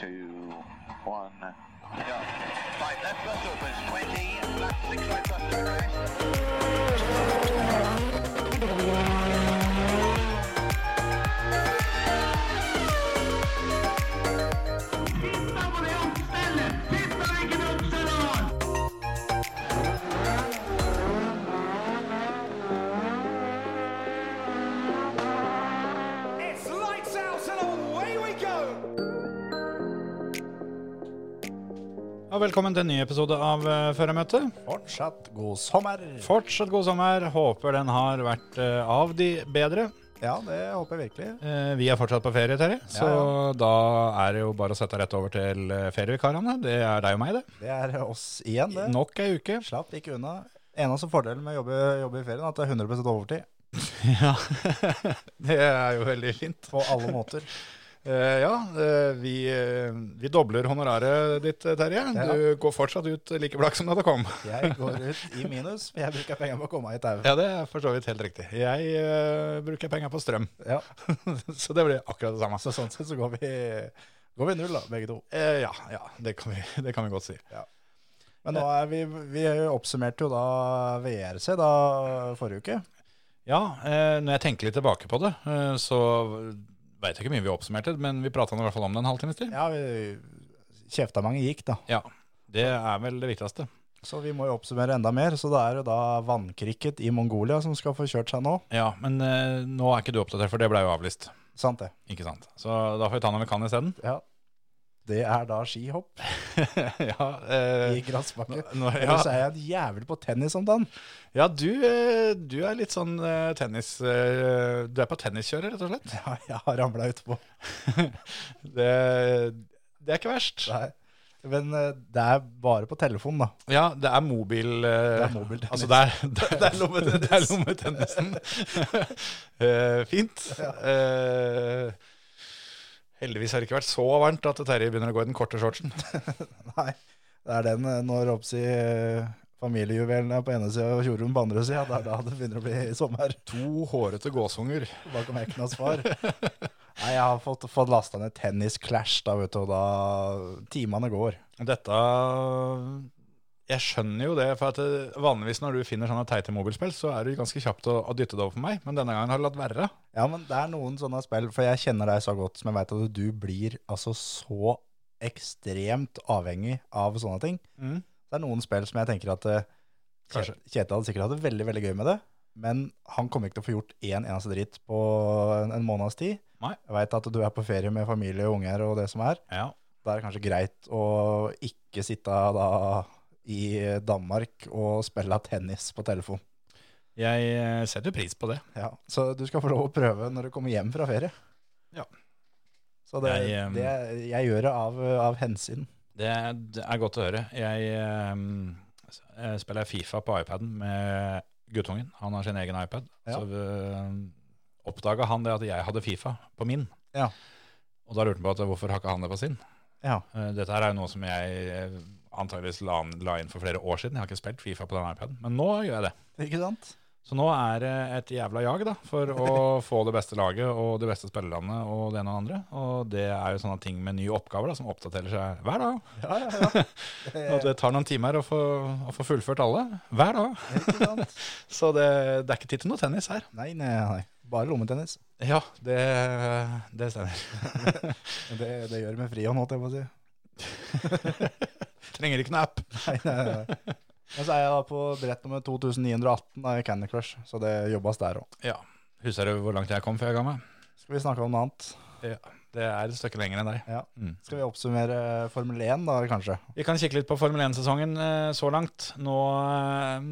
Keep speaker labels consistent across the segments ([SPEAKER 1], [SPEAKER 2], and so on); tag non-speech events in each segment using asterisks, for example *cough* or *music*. [SPEAKER 1] two, one.
[SPEAKER 2] Yeah. Right, left bus opens, 20, left six right bus to rest.
[SPEAKER 3] It's lights out and away we go!
[SPEAKER 4] Og velkommen til en ny episode av eh, Førermøtet.
[SPEAKER 5] Fortsatt god sommer.
[SPEAKER 4] Fortsatt god sommer. Håper den har vært eh, av de bedre.
[SPEAKER 5] Ja, det håper jeg virkelig.
[SPEAKER 4] Eh, vi er fortsatt på ferie, Terje, så da er det jo bare å sette rett over til eh, ferievikarene. Det er deg og meg, det.
[SPEAKER 5] Det er oss igjen, det.
[SPEAKER 4] Nok ei uke.
[SPEAKER 5] Slapp ikke unna. Eneste fordelen med å jobbe, jobbe i ferien, er at det er 100 overtid.
[SPEAKER 4] *laughs* Ja, Det er jo veldig fint.
[SPEAKER 5] På alle måter.
[SPEAKER 4] Eh, ja, eh, vi, eh, vi dobler honoraret ditt, eh, Terje.
[SPEAKER 5] Ja.
[SPEAKER 4] Du går fortsatt ut like blakk som da du kom.
[SPEAKER 5] Jeg går ut i minus, for jeg bruker penger på å komme meg i tauet.
[SPEAKER 4] Ja, det er for så vidt helt riktig. Jeg eh, bruker penger på strøm,
[SPEAKER 5] Ja.
[SPEAKER 4] *laughs* så det blir akkurat det samme.
[SPEAKER 5] Så sånn sett så går vi, går vi null, da, begge to.
[SPEAKER 4] Eh, ja, ja det, kan vi, det kan vi godt si.
[SPEAKER 5] Men nå er vi, vi oppsummerte jo da VRC da forrige uke.
[SPEAKER 4] Ja, eh, når jeg tenker litt tilbake på det, eh, så veit jeg ikke hvor mye vi oppsummerte, men vi prata i hvert fall om det en halvtimes tid.
[SPEAKER 5] Ja, vi kjefta mange gikk, da.
[SPEAKER 4] Ja, det er vel det viktigste.
[SPEAKER 5] Så vi må jo oppsummere enda mer. Så da er det da vannkrikket i Mongolia som skal få kjørt seg nå.
[SPEAKER 4] Ja, men eh, nå er ikke du oppdatert, for det blei jo avlyst.
[SPEAKER 5] Sant det.
[SPEAKER 4] Ikke sant? Så da får vi ta når vi kan
[SPEAKER 5] *laughs*
[SPEAKER 4] isteden.
[SPEAKER 5] Ja. Det er da skihopp
[SPEAKER 4] ja, eh,
[SPEAKER 5] i grassbakke.
[SPEAKER 4] nå- *laughs* ja.
[SPEAKER 5] Ellers er jeg en jævel på tennis om dagen. *laughs*
[SPEAKER 4] ja du, eh, du er litt sånn eh, tennis... Eh, du er på tenniskjøret, rett og *laughs* slett.
[SPEAKER 5] Ja, jeg har ramla utpå.
[SPEAKER 4] Det, det er ikke verst.
[SPEAKER 5] Nei. Men eh, det er bare på telefon, da. *laughs*
[SPEAKER 4] Ja, det er mobil...
[SPEAKER 5] Det
[SPEAKER 4] eh,
[SPEAKER 5] er mobiltennis.
[SPEAKER 4] Altså, det er, *laughs* det, det er lommetennis. det er lommetennisen. *laughs* Eh, fint. Eh, heldigvis har det ikke vært så varmt at Terje begynner å gå i den korte shortsen.
[SPEAKER 5] Nei. Det er den eh, når oppsi eh, familiejuvelen er på ene sida og Jorunn på andre sida. Det er da det begynner å bli *laughs* sommer.
[SPEAKER 4] To hårete gåsunger.
[SPEAKER 5] Bakom hekken hans far. Nei, jeg har fått, fått lasta ned Tennis Clash, da, vet du, og da timene går.
[SPEAKER 4] Dette Jeg skjønner jo det, for at eh, vanligvis når du finner sånne teite mobilspill, så er du ganske kjapt å, å dytte det over på meg, men denne gangen har du latt være.
[SPEAKER 5] Ja, men det er noen sånne spill, for jeg kjenner deg så godt, som jeg veit at du blir altså så ekstremt avhengig av sånne ting.
[SPEAKER 4] Mm.
[SPEAKER 5] Det er noen spill som jeg tenker at eh, Kjet- Kjetil hadde sikkert hatt det veldig, veldig gøy med det, men han kommer ikke til å få gjort én eneste dritt på en, en måneds tid.
[SPEAKER 4] Nei.
[SPEAKER 5] Jeg veit at du er på ferie med familie og unger og det som er.
[SPEAKER 4] Ja.
[SPEAKER 5] Da er det kanskje greit å ikke sitte da i Danmark og spille tennis på telefon.
[SPEAKER 4] Jeg eh, setter jo pris på det.
[SPEAKER 5] Ja, så du skal få lov å prøve når du kommer hjem fra ferie.
[SPEAKER 4] Ja.
[SPEAKER 5] Så det,
[SPEAKER 4] Jeg, ehm,
[SPEAKER 5] det, jeg gjør det av, av hensyn.
[SPEAKER 4] Det, det er godt å høre. Jeg eh, spiller Fifa på iPaden med guttungen. Han har sin egen iPad.
[SPEAKER 5] Ja.
[SPEAKER 4] Så uh, oppdaga han det at jeg hadde Fifa på min.
[SPEAKER 5] Ja.
[SPEAKER 4] Og da lurte han på at eh, hvorfor har ikke han det på sin?
[SPEAKER 5] Ja.
[SPEAKER 4] Eh, dette her er jo noe som jeg eh, antageligvis la, la inn for flere år siden. Jeg har ikke spilt Fifa på den iPaden, men nå gjør jeg det.
[SPEAKER 5] Ikke sant?
[SPEAKER 4] Så nå er det et jævla jag da, for å
[SPEAKER 5] *laughs*
[SPEAKER 4] få det beste laget og de beste spillerne og det ene og det andre. Og det er jo sånne ting med nye oppgaver da, som oppdaterer seg hver dag.
[SPEAKER 5] Ja, ja, *laughs* ja.
[SPEAKER 4] Og det tar noen timer å få, å få fullført alle, hver dag.
[SPEAKER 5] Ikke sant?
[SPEAKER 4] Så det, det er ikke tid til noe tennis her.
[SPEAKER 5] Nei, nei, nei. Bare lommetennis.
[SPEAKER 4] Ja, det, det stemmer.
[SPEAKER 5] Det, det gjør vi med frihånd, holdt jeg på å si.
[SPEAKER 4] Trenger ikke noe app.
[SPEAKER 5] Nei, nei, nei. Men så er jeg da på brett nummer 2918 av Candy Crush, så det jobbes der òg.
[SPEAKER 4] Ja, Husker du hvor langt jeg kom før jeg ga meg?
[SPEAKER 5] Skal vi snakke om noe annet?
[SPEAKER 4] Ja, det er et stykke lenger enn deg.
[SPEAKER 5] Ja.
[SPEAKER 4] Mm.
[SPEAKER 5] Skal vi oppsummere Formel 1 da, kanskje?
[SPEAKER 4] Vi kan kikke litt på Formel 1-sesongen eh, så langt. Nå eh,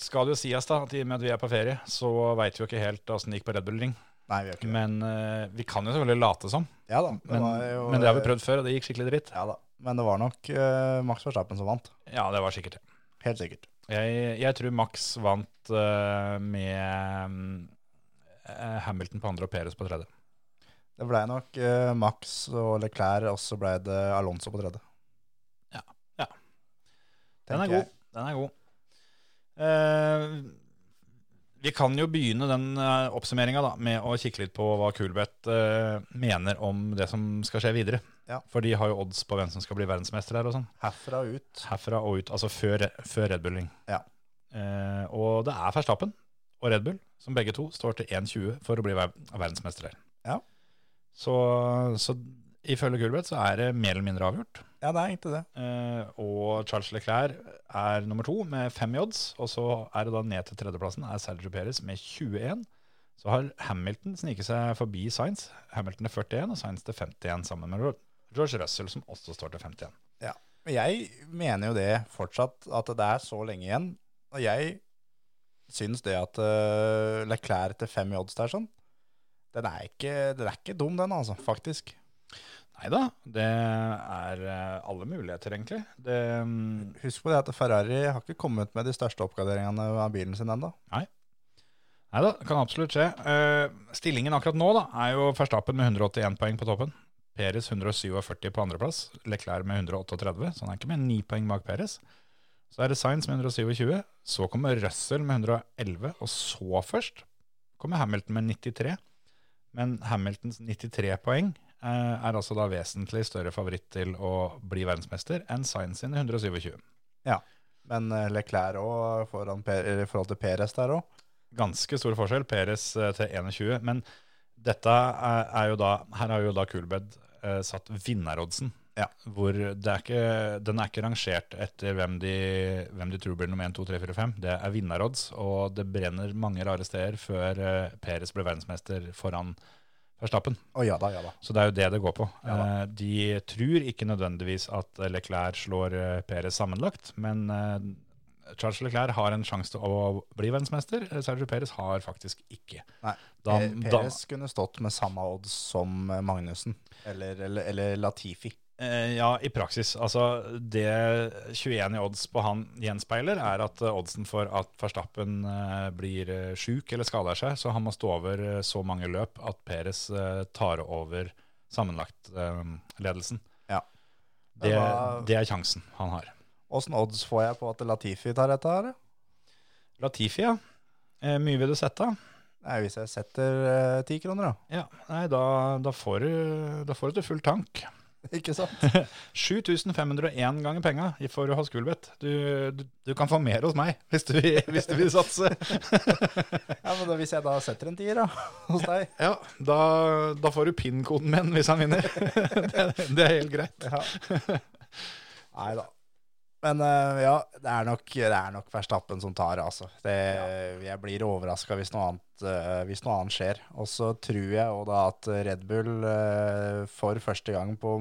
[SPEAKER 4] skal det jo sies da, at i og med at vi er på ferie, så veit vi jo ikke helt åssen det gikk på Red Bull Ring.
[SPEAKER 5] Nei, vi gjør ikke det.
[SPEAKER 4] Men eh, vi kan jo selvfølgelig late som.
[SPEAKER 5] Ja da.
[SPEAKER 4] Men,
[SPEAKER 5] var jo-
[SPEAKER 4] men det har vi prøvd før, og det gikk skikkelig dritt.
[SPEAKER 5] Ja da. Men det var nok eh, Max Verstappen som vant.
[SPEAKER 4] Ja, det var sikkert det.
[SPEAKER 5] Helt sikkert.
[SPEAKER 4] Jeg, jeg tror Max vant eh, med eh, Hamilton på andre og Perez på tredje.
[SPEAKER 5] Det blei nok eh, Max og Leclerc, og så blei det Alonso på tredje.
[SPEAKER 4] Ja. Ja. Den
[SPEAKER 5] Tenker
[SPEAKER 4] er god.
[SPEAKER 5] jeg.
[SPEAKER 4] Den er god. Eh, Vi kan jo begynne den uh, oppsummeringa da, med å kikke litt på hva Kulbeth eh, mener om det som skal skje videre.
[SPEAKER 5] Ja.
[SPEAKER 4] For de har jo odds på hvem som skal bli verdensmester her og sånn.
[SPEAKER 5] Herfra og ut.
[SPEAKER 4] Herfra og ut, altså før, før Red Bulling.
[SPEAKER 5] Ja.
[SPEAKER 4] Eh, og det er Verstappen og Red Bull som begge to står til 1,20 for å bli ver verdensmester her.
[SPEAKER 5] Ja.
[SPEAKER 4] Så, så ifølge Kulbeth så er det mer eller mindre avgjort.
[SPEAKER 5] Ja, det er egentlig det.
[SPEAKER 4] Eh, og Charles Leclerc er nummer to med fem i odds. Og så er det da ned til tredjeplassen er Sergio Perez med 21. Så har Hamilton sniket seg forbi Sainz. Hamilton er 41 og Sainz til 51 sammen med George Russell, som også står til 51.
[SPEAKER 5] Ja. Men jeg mener jo det fortsatt, at det er så lenge igjen. Og jeg syns det at eh, Leclerc til fem i odds der sånn, den er, ikke, den er ikke dum, den, altså, faktisk.
[SPEAKER 4] Nei da, det er eh, alle muligheter, egentlig. Det, mm,
[SPEAKER 5] Husk på det at Ferrari har ikke kommet med de største oppgraderingene av bilen sin ennå.
[SPEAKER 4] nei da, kan absolutt skje. Eh, stillingen akkurat nå da, er jo Verstappen med 181 poeng på toppen. Peres 147 på andreplass. Leclerc med 138, så han er ikke med 9 poeng bak Peres. Så er det Sainz med 127, så kommer Russell med 111, og så først kommer Hamilton med 93. Men Hamiltons 93 poeng eh, er altså da vesentlig større favoritt til å bli verdensmester enn Sainz sine 127.
[SPEAKER 5] Men eh, Leclerc òg, foran Per- eller i forhold til Perez der òg.
[SPEAKER 4] ganske stor forskjell. Peres eh, til 21. Men dette er, er jo da Her har jo da Kulbed eh, satt vinneroddsen.
[SPEAKER 5] Ja.
[SPEAKER 4] Hvor det er ikke, den er ikke rangert etter hvem de, hvem de tror blir nummer 1, 2, 3, 4, 5. Det er vinnerodds, og det brenner mange rare steder før eh, Peres blir verdensmester foran Verstappen.
[SPEAKER 5] Å ja da, ja da.
[SPEAKER 4] Så det er jo det det går på.
[SPEAKER 5] Ja da.
[SPEAKER 4] Eh, de tror ikke nødvendigvis at Leclerc slår eh, Perez sammenlagt, men eh, Charles Leclerc har en sjanse til å bli verdensmester. Eh, Sergio Perez har faktisk ikke.
[SPEAKER 5] Nei,
[SPEAKER 4] Da-
[SPEAKER 5] Per-
[SPEAKER 4] da-
[SPEAKER 5] Perez kunne stått med samme odds som eh, Magnussen, eller, eller, eller Latifi.
[SPEAKER 4] Eh, ja, i praksis. Altså, det 21 i odds på han gjenspeiler, er at eh, oddsen for at Verstappen eh, blir eh, sjuk eller skader seg, så han må stå over eh, så mange løp at Perez eh, tar over sammenlagtledelsen. Eh, ledelsen.
[SPEAKER 5] Ja.
[SPEAKER 4] det,
[SPEAKER 5] Hva-
[SPEAKER 4] det er sjansen han har.
[SPEAKER 5] Åssen odds får jeg på at Latifi tar dette her? da?
[SPEAKER 4] Latifi, ja. Eh, mye vil du sette?
[SPEAKER 5] Nei, hvis jeg setter eh, ti kroner, da.
[SPEAKER 4] Ja, nei, da, da, får du, da får du til full tank.
[SPEAKER 5] *laughs* Ikke sant?
[SPEAKER 4] 7501 ganger penga for å ha skulbett. Du, du, du kan få mer hos meg hvis du, vil- hvis du vil satse.
[SPEAKER 5] Ja, men da, Hvis jeg da setter en tier da, *laughs* hos deg
[SPEAKER 4] Ja, da, da får du pin-koden min hvis han vinner. *laughs* Det, det er helt greit.
[SPEAKER 5] ja. *laughs* Nei da. Men eh, ja, det er nok, det er nok Verstappen som tar det, altså. Det, Jeg blir overraska hvis, noe annet, eh, hvis noe annet skjer. Og så tror jeg også da at Red Bull eh, for første gang på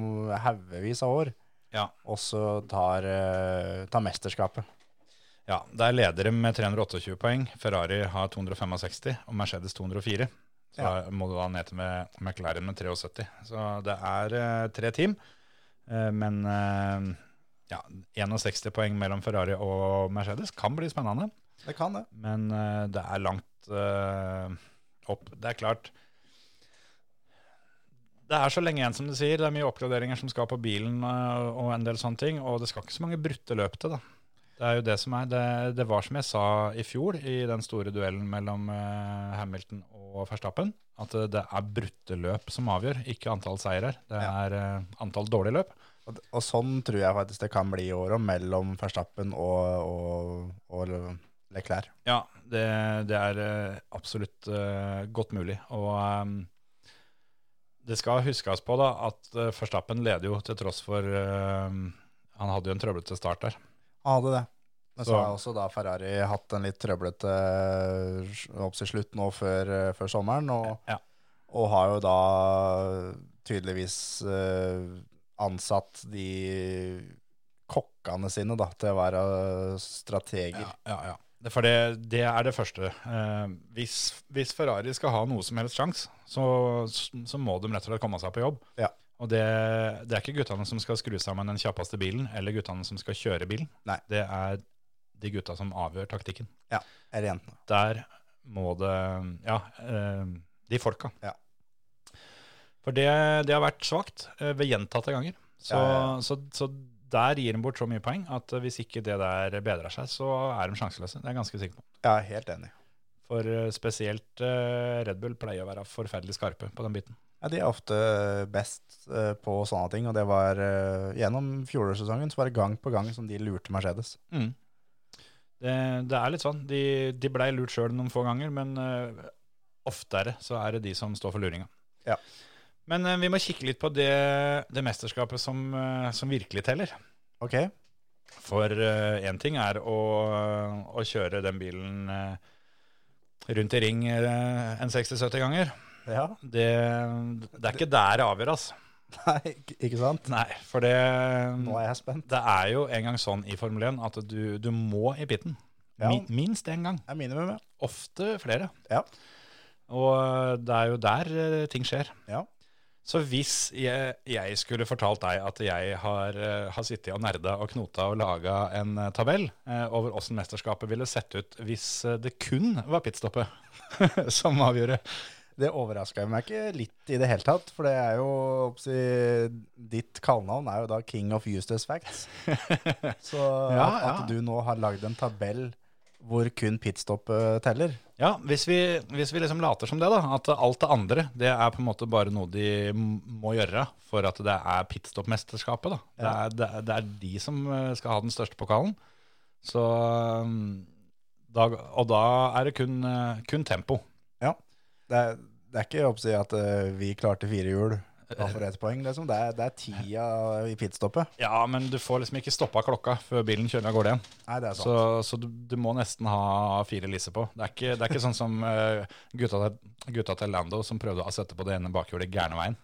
[SPEAKER 5] haugevis av år
[SPEAKER 4] Ja.
[SPEAKER 5] også tar, eh, tar mesterskapet.
[SPEAKER 4] Ja, der leder de med 328 poeng. Ferrari har 265 og Mercedes 204. Så
[SPEAKER 5] Ja.
[SPEAKER 4] da må du da ned til med McLaren med 73. Så det er eh, tre team. Eh, men eh, ja, 61 poeng mellom Ferrari og Mercedes kan bli spennende.
[SPEAKER 5] Det kan det.
[SPEAKER 4] Men eh, det er langt eh, opp. Det er klart Det er så lenge igjen, som du sier. Det er mye oppgraderinger som skal på bilen eh, og en del sånne ting. Og det skal ikke så mange brutte løp til, da. Det er jo det som er. Det, det var som jeg sa i fjor, i den store duellen mellom eh, Hamilton og Verstappen, at eh, det er brutte løp som avgjør, ikke antall seirer. Det
[SPEAKER 5] Ja.
[SPEAKER 4] er eh, antall dårlige løp.
[SPEAKER 5] Og, og sånn tror jeg faktisk det kan bli i år òg, mellom Verstappen og, og, og Leclerc.
[SPEAKER 4] Ja, det, det er eh, absolutt eh, godt mulig. Og eh, det skal huskes på da at uh, Verstappen leder jo til tross for eh, Han hadde jo en trøblete start der.
[SPEAKER 5] Han hadde det. Men så
[SPEAKER 4] Så-
[SPEAKER 5] har også da Ferrari hatt en litt trøblete eh, s- opp til slutt nå før, eh, før sommeren, og,
[SPEAKER 4] Ja.
[SPEAKER 5] og har jo da tydeligvis eh, ansatt de kokkene sine da, til å være eh, strateger.
[SPEAKER 4] Ja, ja, ja. Det- For det, det er det første. Eh, hvis, hvis Ferrari skal ha noe som helst sjanse, så, så må de rett og slett komme seg på jobb.
[SPEAKER 5] Ja.
[SPEAKER 4] Og det, det er ikke guttene som skal skru sammen den kjappeste bilen, eller guttene som skal kjøre bilen.
[SPEAKER 5] Nei.
[SPEAKER 4] Det er de gutta som avgjør taktikken.
[SPEAKER 5] Eller jentene.
[SPEAKER 4] der må det Ja, eh, de folka.
[SPEAKER 5] Ja.
[SPEAKER 4] For det, det har vært svakt eh, ved gjentatte ganger. Så,
[SPEAKER 5] Ja,
[SPEAKER 4] så, så der gir de bort så mye poeng at eh, hvis ikke det der bedrer seg, så er de sjanseløse. Det er jeg ganske sikker på.
[SPEAKER 5] Jeg er helt enig.
[SPEAKER 4] For eh, spesielt eh, Red Bull pleier å være forferdelig skarpe på den biten.
[SPEAKER 5] Ja, de er ofte best eh, på sånne ting, og det var eh, gjennom fjorårssesongen så var det gang på gang som de lurte Mercedes.
[SPEAKER 4] Det, det er litt sånn. De, de blei lurt sjøl noen få ganger, men eh, oftere så er det de som står for luringa.
[SPEAKER 5] Ja.
[SPEAKER 4] Men eh, vi må kikke litt på det, det mesterskapet som, eh, som virkelig teller.
[SPEAKER 5] Ok,
[SPEAKER 4] For én ting er å, å kjøre den bilen eh, rundt i ring eh, en 60-70 ganger.
[SPEAKER 5] ja, *laughs*
[SPEAKER 4] Det, det er ikke der det avgjøres.
[SPEAKER 5] nei, ikke- ikke sant?
[SPEAKER 4] Nei, for det
[SPEAKER 5] Nå er jeg spent.
[SPEAKER 4] Det er jo en gang sånn i Formel 1 at du, du må i pitten.
[SPEAKER 5] Ja.
[SPEAKER 4] Mi- Minst én gang.
[SPEAKER 5] Det er minimum, ja.
[SPEAKER 4] Ofte flere.
[SPEAKER 5] Ja.
[SPEAKER 4] Og det er jo der eh, ting skjer.
[SPEAKER 5] Ja.
[SPEAKER 4] Så hvis jeg, jeg skulle fortalt deg at jeg har, eh, har sittet og nerda og knota og laga en eh, tabell eh, over åssen mesterskapet ville sett ut hvis eh, det kun var pitstoppet *laughs* som avgjorde
[SPEAKER 5] Det overraska meg ikke litt i det hele tatt, for det er jo oppsi, Ditt kallenavn er jo da King of Useless
[SPEAKER 4] *laughs*
[SPEAKER 5] Facts. Så at,
[SPEAKER 4] Ja, ja.
[SPEAKER 5] at du nå har lagd en tabell hvor kun pitstoppet teller.
[SPEAKER 4] Ja, hvis vi, hvis vi liksom later som det, da, at alt det andre det er på en måte bare noe de m- må gjøre for at det er pitstop-mesterskapet. da. Det,
[SPEAKER 5] Ja.
[SPEAKER 4] er, det, er- det er de som eh, skal ha den største pokalen. Så, mm, da, og da er det kun, eh, kun tempo.
[SPEAKER 5] Ja. Det er, det er ikke oppsi at eh, vi klarte fire hjul da for ett poeng, liksom. Det er, det er tida i pitstoppet.
[SPEAKER 4] Ja, men du får liksom ikke stoppa klokka før bilen kjører av gårde igjen.
[SPEAKER 5] Nei, det er sånn.
[SPEAKER 4] Så,
[SPEAKER 5] sant.
[SPEAKER 4] så du, du må nesten ha fire lisser på. Det er ikke, det er ikke sånn som eh, gutta, til, gutta til Lando som prøvde å sette på det ene bakhjulet gærne veien.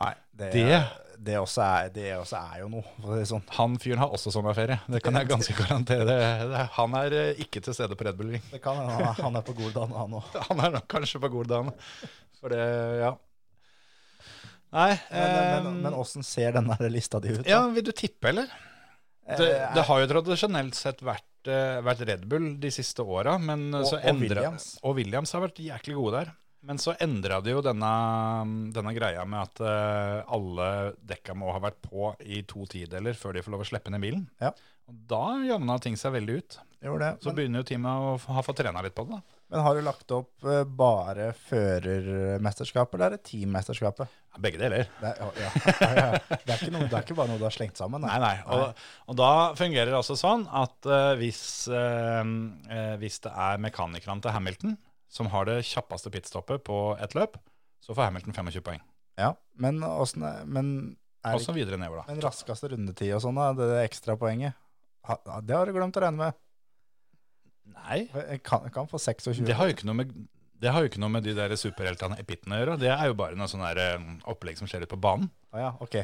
[SPEAKER 5] Nei, det,
[SPEAKER 4] Det-
[SPEAKER 5] det, også er, det også er jo noe, for å si det sånn.
[SPEAKER 4] Han fyren har også sommerferie. Det kan jeg ganske garantere. Det, han er eh, ikke til stede på Red Bull Ring.
[SPEAKER 5] Det kan hende han er- han er på god dag, han òg.
[SPEAKER 4] *laughs* Han er nok kanskje på god dag. For det, ja. Nei.
[SPEAKER 5] Men
[SPEAKER 4] eh,
[SPEAKER 5] men- men åssen ser den der lista di ut? da?
[SPEAKER 4] ja, vil du tippe, eller? Det,
[SPEAKER 5] Eh,
[SPEAKER 4] det har jo tradisjonelt sett vært, eh, vært Red Bull de siste åra. men eh,
[SPEAKER 5] Og-
[SPEAKER 4] så
[SPEAKER 5] og
[SPEAKER 4] endret-
[SPEAKER 5] Williams.
[SPEAKER 4] Og Williams har vært jæklig gode der. Men så endra de jo denne, denne greia med at eh, alle dekka må ha vært på i to tideler før de får lov å slippe ned bilen.
[SPEAKER 5] Ja.
[SPEAKER 4] Og da jevna ting seg veldig ut.
[SPEAKER 5] Gjorde det.
[SPEAKER 4] Så
[SPEAKER 5] Men-
[SPEAKER 4] begynner jo teamet å f- ha fått trena litt på det. da.
[SPEAKER 5] Men har du lagt opp eh, bare førermesterskapet, eller er det teammesterskapet?
[SPEAKER 4] Begge deler.
[SPEAKER 5] Det er, ja, ja, ja. Det, er ikke noe, det er ikke bare noe du har slengt sammen.
[SPEAKER 4] Nei, nei. Og, og da fungerer det altså sånn at eh, hvis, eh, eh, hvis det er mekanikerne til Hamilton som har det kjappeste pitstoppet på ett løp, så får Hamilton 25 poeng.
[SPEAKER 5] Ja, men, åssen er- men, er
[SPEAKER 4] Og
[SPEAKER 5] det
[SPEAKER 4] så videre nedover, da.
[SPEAKER 5] ikke, men raskeste rundetid og sånn, da, det, det ekstra poenget, ha, det har du glemt å regne med.
[SPEAKER 4] Nei,
[SPEAKER 5] Jeg kan, jeg kan få 26.
[SPEAKER 4] det har jo ikke noe med det har jo ikke noe med de der superheltene i pitten å gjøre. Det er jo bare noe sånn der eh, opplegg som skjer ute på banen.
[SPEAKER 5] Å Ah, ja, ok.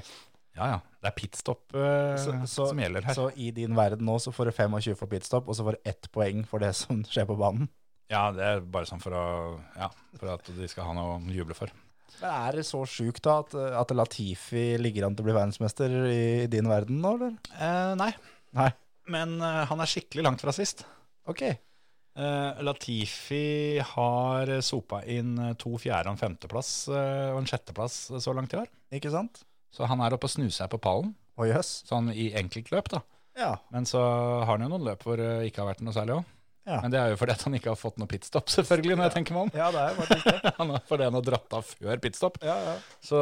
[SPEAKER 4] Ja, ja. Det er pitstop eh,
[SPEAKER 5] Så, så,
[SPEAKER 4] som gjelder her.
[SPEAKER 5] så i din verden nå så får du 25 for pitstop, og så får du ett poeng for det som skjer på banen.
[SPEAKER 4] Ja, det er bare sånn for, å, ja, for at de skal ha noe å juble for.
[SPEAKER 5] Men er det så sjukt da at, at Latifi ligger an til å bli verdensmester i, i din verden nå, eller?
[SPEAKER 4] Eh, nei.
[SPEAKER 5] Nei.
[SPEAKER 4] Men eh, han er skikkelig langt fra sist.
[SPEAKER 5] Ok.
[SPEAKER 4] Eh, Latifi har sopa inn eh, to fjerde- og en femteplass eh, og en sjetteplass eh, så langt i år.
[SPEAKER 5] Ikke sant?
[SPEAKER 4] Så han er oppe og snuser her på pallen,
[SPEAKER 5] Å jøss.
[SPEAKER 4] sånn i enkeltløp, da.
[SPEAKER 5] Ja.
[SPEAKER 4] Men så har han jo noen løp hvor det ikke har vært noe særlig òg.
[SPEAKER 5] Ja.
[SPEAKER 4] Men det er jo fordi at han ikke har fått noe pitstop, *laughs* selvfølgelig, når jeg tenker meg om.
[SPEAKER 5] ja, det er jo faktisk det.
[SPEAKER 4] Han har fordi han har dratt av før pitstop,
[SPEAKER 5] Ja, ja.
[SPEAKER 4] så,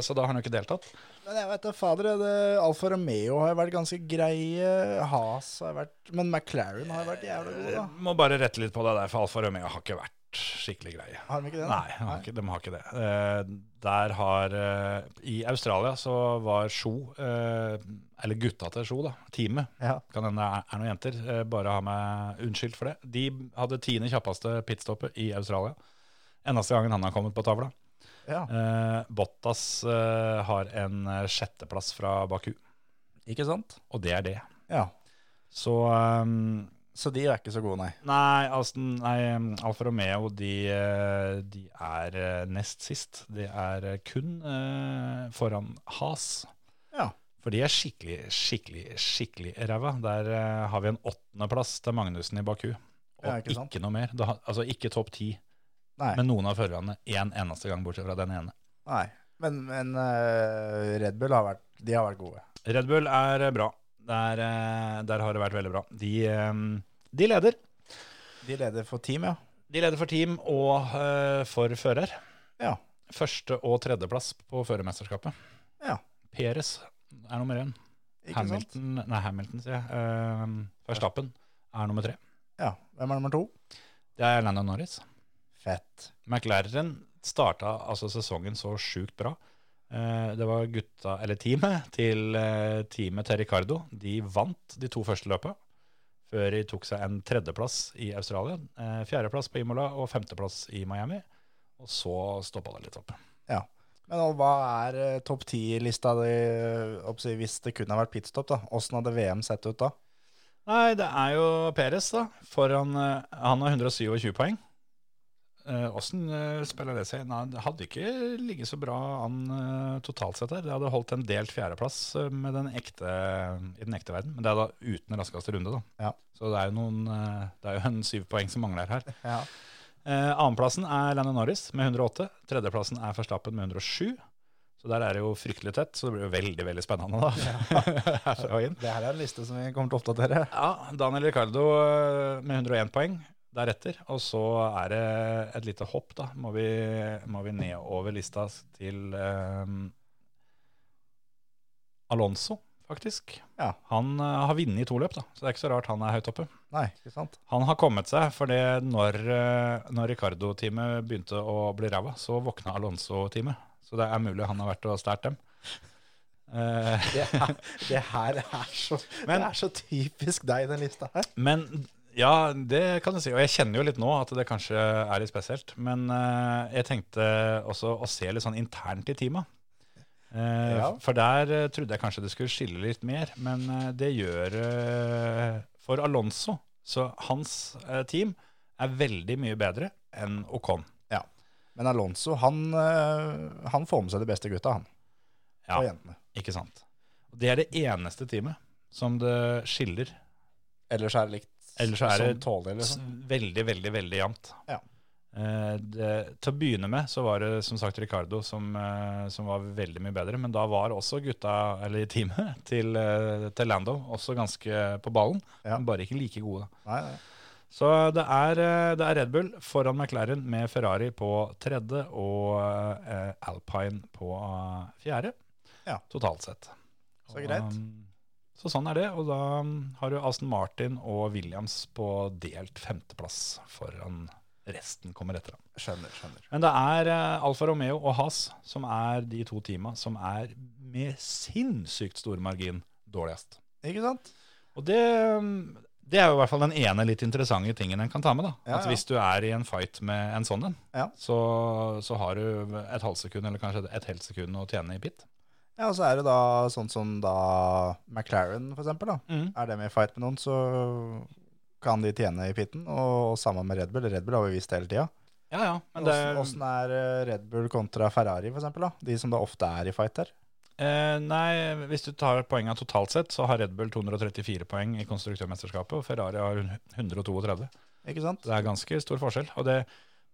[SPEAKER 4] så da har han jo ikke deltatt.
[SPEAKER 5] *laughs* Men jeg vet da, fader, det, Alfa Romeo har jo vært ganske greie, Has har jo vært Men McLaren har jo vært jævlig god, da.
[SPEAKER 4] Må bare rette litt på deg der, for Alfa Romeo har ikke vært skikkelig greie.
[SPEAKER 5] Har de ikke det? da?
[SPEAKER 4] Nei, han har ikke, de har ikke det. Eh, der har eh, I Australia så var Sjo, eh, eller gutta til Sjo, da, teamet
[SPEAKER 5] Ja.
[SPEAKER 4] kan hende det er, er noen jenter, eh, bare ha meg unnskyld for det. De hadde tiende kjappeste pitstoppet i Australia. Eneste gangen han har kommet på tavla.
[SPEAKER 5] ja.
[SPEAKER 4] Eh, Bottas eh, har en eh, sjetteplass fra Baku,
[SPEAKER 5] Ikke sant?
[SPEAKER 4] og det er det.
[SPEAKER 5] Ja.
[SPEAKER 4] Så eh,
[SPEAKER 5] Så de er ikke så gode, nei.
[SPEAKER 4] Nei, Aston, nei um, Alfa Romeo de, eh, de er eh, nest sist. De er eh, kun eh, foran Has.
[SPEAKER 5] Ja.
[SPEAKER 4] For de er skikkelig, skikkelig, skikkelig ræva. Der eh, har vi en åttendeplass til Magnussen i Baku. Og
[SPEAKER 5] Ja, ikke
[SPEAKER 4] ikke,
[SPEAKER 5] sant?
[SPEAKER 4] noe mer. Det har- altså ikke topp ti,
[SPEAKER 5] Nei.
[SPEAKER 4] men noen av førerne én eneste gang, bortsett fra den ene.
[SPEAKER 5] nei. Men, men eh, Red Bull har vært, de har vært gode.
[SPEAKER 4] Red Bull er eh, bra. Der, eh, der har det vært veldig bra. De, eh, de leder.
[SPEAKER 5] De leder for team, ja.
[SPEAKER 4] De leder for team og eh, for fører.
[SPEAKER 5] Ja.
[SPEAKER 4] Første- og tredjeplass på førermesterskapet.
[SPEAKER 5] Ja.
[SPEAKER 4] Peres er nummer én.
[SPEAKER 5] Ikke sant?
[SPEAKER 4] Hamilton, nei, Hamilton, sier jeg. Eh, Verstappen er nummer tre.
[SPEAKER 5] Ja. Hvem er nummer to?
[SPEAKER 4] Det er Landon Norris.
[SPEAKER 5] Fett.
[SPEAKER 4] McLaren starta altså sesongen så sjukt bra. Eh, Det var gutta, eller teamet, til eh, teamet til Ricardo. De vant de to første løpa, før de tok seg en tredjeplass i Australia. eh, Fjerdeplass på Imola og femteplass i Miami. Og så stoppa det litt opp.
[SPEAKER 5] Ja. Men og hva er eh, topp ti-lista di eh, oppsi, hvis det kun har vært pitstop? da? Åssen hadde VM sett ut da?
[SPEAKER 4] Nei, det er jo Peres, da. Foran, eh, han har 127 poeng. Eh, Åssen spiller det seg? Nei, det hadde ikke ligget så bra an eh, totalt sett her. Det hadde holdt en delt fjerdeplass eh, med den ekte, i den ekte verden. Men det er da uten raskeste runde, da.
[SPEAKER 5] Ja.
[SPEAKER 4] Så det er jo noen eh, Det er jo en syv poeng som mangler her.
[SPEAKER 5] Ja.
[SPEAKER 4] Eh, Annenplassen er Lennon Norris med 108. Tredjeplassen er Verstappen med 107. Så der er det jo fryktelig tett, så det blir jo veldig veldig spennende da. *laughs* Herfra og inn.
[SPEAKER 5] Det her er en liste som vi kommer til å oppdatere.
[SPEAKER 4] Ja, Daniel Ricardo eh, med 101 poeng deretter. Og så er det et lite hopp, da. Må vi, må vi nedover lista til eh, Alonso, faktisk.
[SPEAKER 5] Ja.
[SPEAKER 4] Han eh, har vunnet i to løp, da, så det er ikke så rart han er høyt oppe.
[SPEAKER 5] Nei, ikke sant?
[SPEAKER 4] Han har kommet seg, for det når, eh, når Ricardo-teamet begynte å bli ræva, så våkna Alonso-teamet. Så det er mulig han har vært og stært dem. Eh,
[SPEAKER 5] Det, er, det her er så,
[SPEAKER 4] Men-
[SPEAKER 5] det er så typisk deg, den lista her.
[SPEAKER 4] Men ja, det kan du si. Og jeg kjenner jo litt nå at det kanskje er litt spesielt. Men eh, jeg tenkte også å se litt sånn internt i teamet. Eh,
[SPEAKER 5] Ja.
[SPEAKER 4] For der eh, trodde jeg kanskje det skulle skille litt mer, men eh, det gjør eh, For Alonso, så hans eh, team er veldig mye bedre enn Ocon.
[SPEAKER 5] Ja. Men Alonso, han, eh, han får med seg de beste gutta, han.
[SPEAKER 4] Ja.
[SPEAKER 5] Og jentene.
[SPEAKER 4] Ikke sant? Og Det er det eneste teamet som det skiller.
[SPEAKER 5] Ellers er det likt
[SPEAKER 4] Ellers er det-
[SPEAKER 5] som tåler,
[SPEAKER 4] S-
[SPEAKER 5] liksom.
[SPEAKER 4] Veldig, veldig, veldig jevnt.
[SPEAKER 5] Ja.
[SPEAKER 4] Eh, det, til å begynne med så var det som sagt Ricardo som, eh, som var veldig mye bedre, men da var også gutta, eller i teamet *laughs* til, eh, til Lando også ganske på ballen,
[SPEAKER 5] Ja.
[SPEAKER 4] men bare ikke like gode.
[SPEAKER 5] Nei, nei.
[SPEAKER 4] Så det er, eh, det er Red Bull foran McLaren med Ferrari på tredje og eh, Alpine på eh, fjerde,
[SPEAKER 5] Ja.
[SPEAKER 4] totalt sett.
[SPEAKER 5] Så greit.
[SPEAKER 4] um, så sånn er det, og da um, har du Aston Martin og Williams på delt femteplass foran resten kommer etter. da.
[SPEAKER 5] Skjønner, skjønner.
[SPEAKER 4] Men det er eh, Alfa Romeo og Haas som er de to teama som er med sinnssykt stor margin dårligst.
[SPEAKER 5] Ikke sant?
[SPEAKER 4] Og det, um, det er jo i hvert fall den ene litt interessante tingen en kan ta med. da.
[SPEAKER 5] Ja,
[SPEAKER 4] At
[SPEAKER 5] ja.
[SPEAKER 4] hvis du er i en fight med en sånn en,
[SPEAKER 5] Ja.
[SPEAKER 4] så, så har du et halvt sekund eller kanskje et helt sekund å tjene i pit.
[SPEAKER 5] Ja, og så er det da sånn som da McLaren, for eksempel, da.
[SPEAKER 4] Mm.
[SPEAKER 5] Er dem i fight med noen, så kan de tjene i pitten. Og, og sammen med Red Bull. Red Bull har vi visst hele tida.
[SPEAKER 4] Ja, ja. Men det,
[SPEAKER 5] Åssen er eh, Red Bull kontra Ferrari, for eksempel, da? De som da ofte er i fight her.
[SPEAKER 4] Eh, nei, hvis du tar poengene totalt sett, så har Red Bull 234 poeng i konstruktørmesterskapet, og Ferrari har 132.
[SPEAKER 5] Ikke sant?
[SPEAKER 4] Så det er ganske stor forskjell. Og det,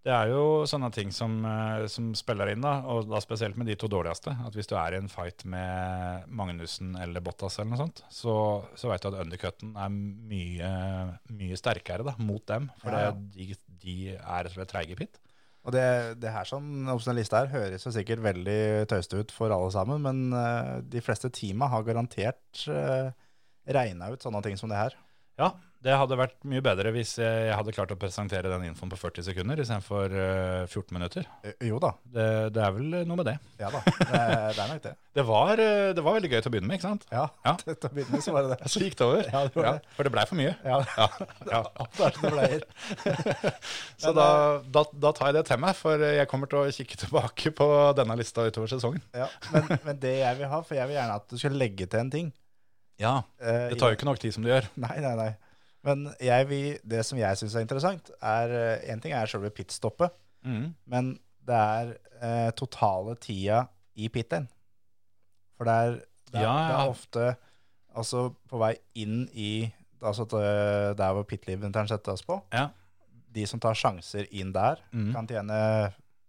[SPEAKER 4] det er jo sånne ting som, eh, som spiller inn, da, og da spesielt med de to dårligste. At hvis du er i en fight med Magnussen eller Bottas eller noe sånt, så, så veit du at undercutten er mye, mye sterkere da, mot dem, for
[SPEAKER 5] Ja, ja.
[SPEAKER 4] det- de, de er rett og slett treige i pit.
[SPEAKER 5] Og det, det her som opp som den lista her høres jo sikkert veldig tøyste ut for alle sammen, men eh, de fleste teama har garantert uh, regna ut sånne ting som det her.
[SPEAKER 4] Ja, det hadde vært mye bedre hvis eh, jeg hadde klart å presentere den infoen på 40 sekunder istedenfor eh, 14 minutter.
[SPEAKER 5] Eh, Jo da.
[SPEAKER 4] Det, det er vel noe med det.
[SPEAKER 5] Ja da. Det, er- det er nok det.
[SPEAKER 4] Det var, eh, det var veldig gøy til å begynne med, ikke sant?
[SPEAKER 5] Ja.
[SPEAKER 4] *laughs* Ja.
[SPEAKER 5] *laughs* Til å begynne med så var det det.
[SPEAKER 4] Så gikk det over.
[SPEAKER 5] Ja, det var det.
[SPEAKER 4] for det blei for mye.
[SPEAKER 5] Ja, *laughs*
[SPEAKER 4] Ja, *laughs* ja.
[SPEAKER 5] det er som det pleier.
[SPEAKER 4] *laughs* Så
[SPEAKER 5] eh,
[SPEAKER 4] da, da, da tar jeg det til meg, for jeg kommer til å kikke tilbake på denne lista utover sesongen.
[SPEAKER 5] Ja, men, men det jeg vil ha, for jeg vil gjerne at du skal legge til en ting.
[SPEAKER 4] Ja,
[SPEAKER 5] Eh,
[SPEAKER 4] Det tar jo ikke nok tid som det gjør.
[SPEAKER 5] *laughs* Nei, nei, nei. Men jeg vil, det som jeg syns er interessant, er eh, En ting er selve pitstoppet,
[SPEAKER 4] Mm.
[SPEAKER 5] men det er eh, totale tida i pitten. For det er, det er,
[SPEAKER 4] Ja,
[SPEAKER 5] det
[SPEAKER 4] ja.
[SPEAKER 5] er ofte Altså på vei inn i Altså til der hvor pitlimiteren settes på.
[SPEAKER 4] Ja.
[SPEAKER 5] De som tar sjanser inn der,
[SPEAKER 4] Mm.
[SPEAKER 5] kan tjene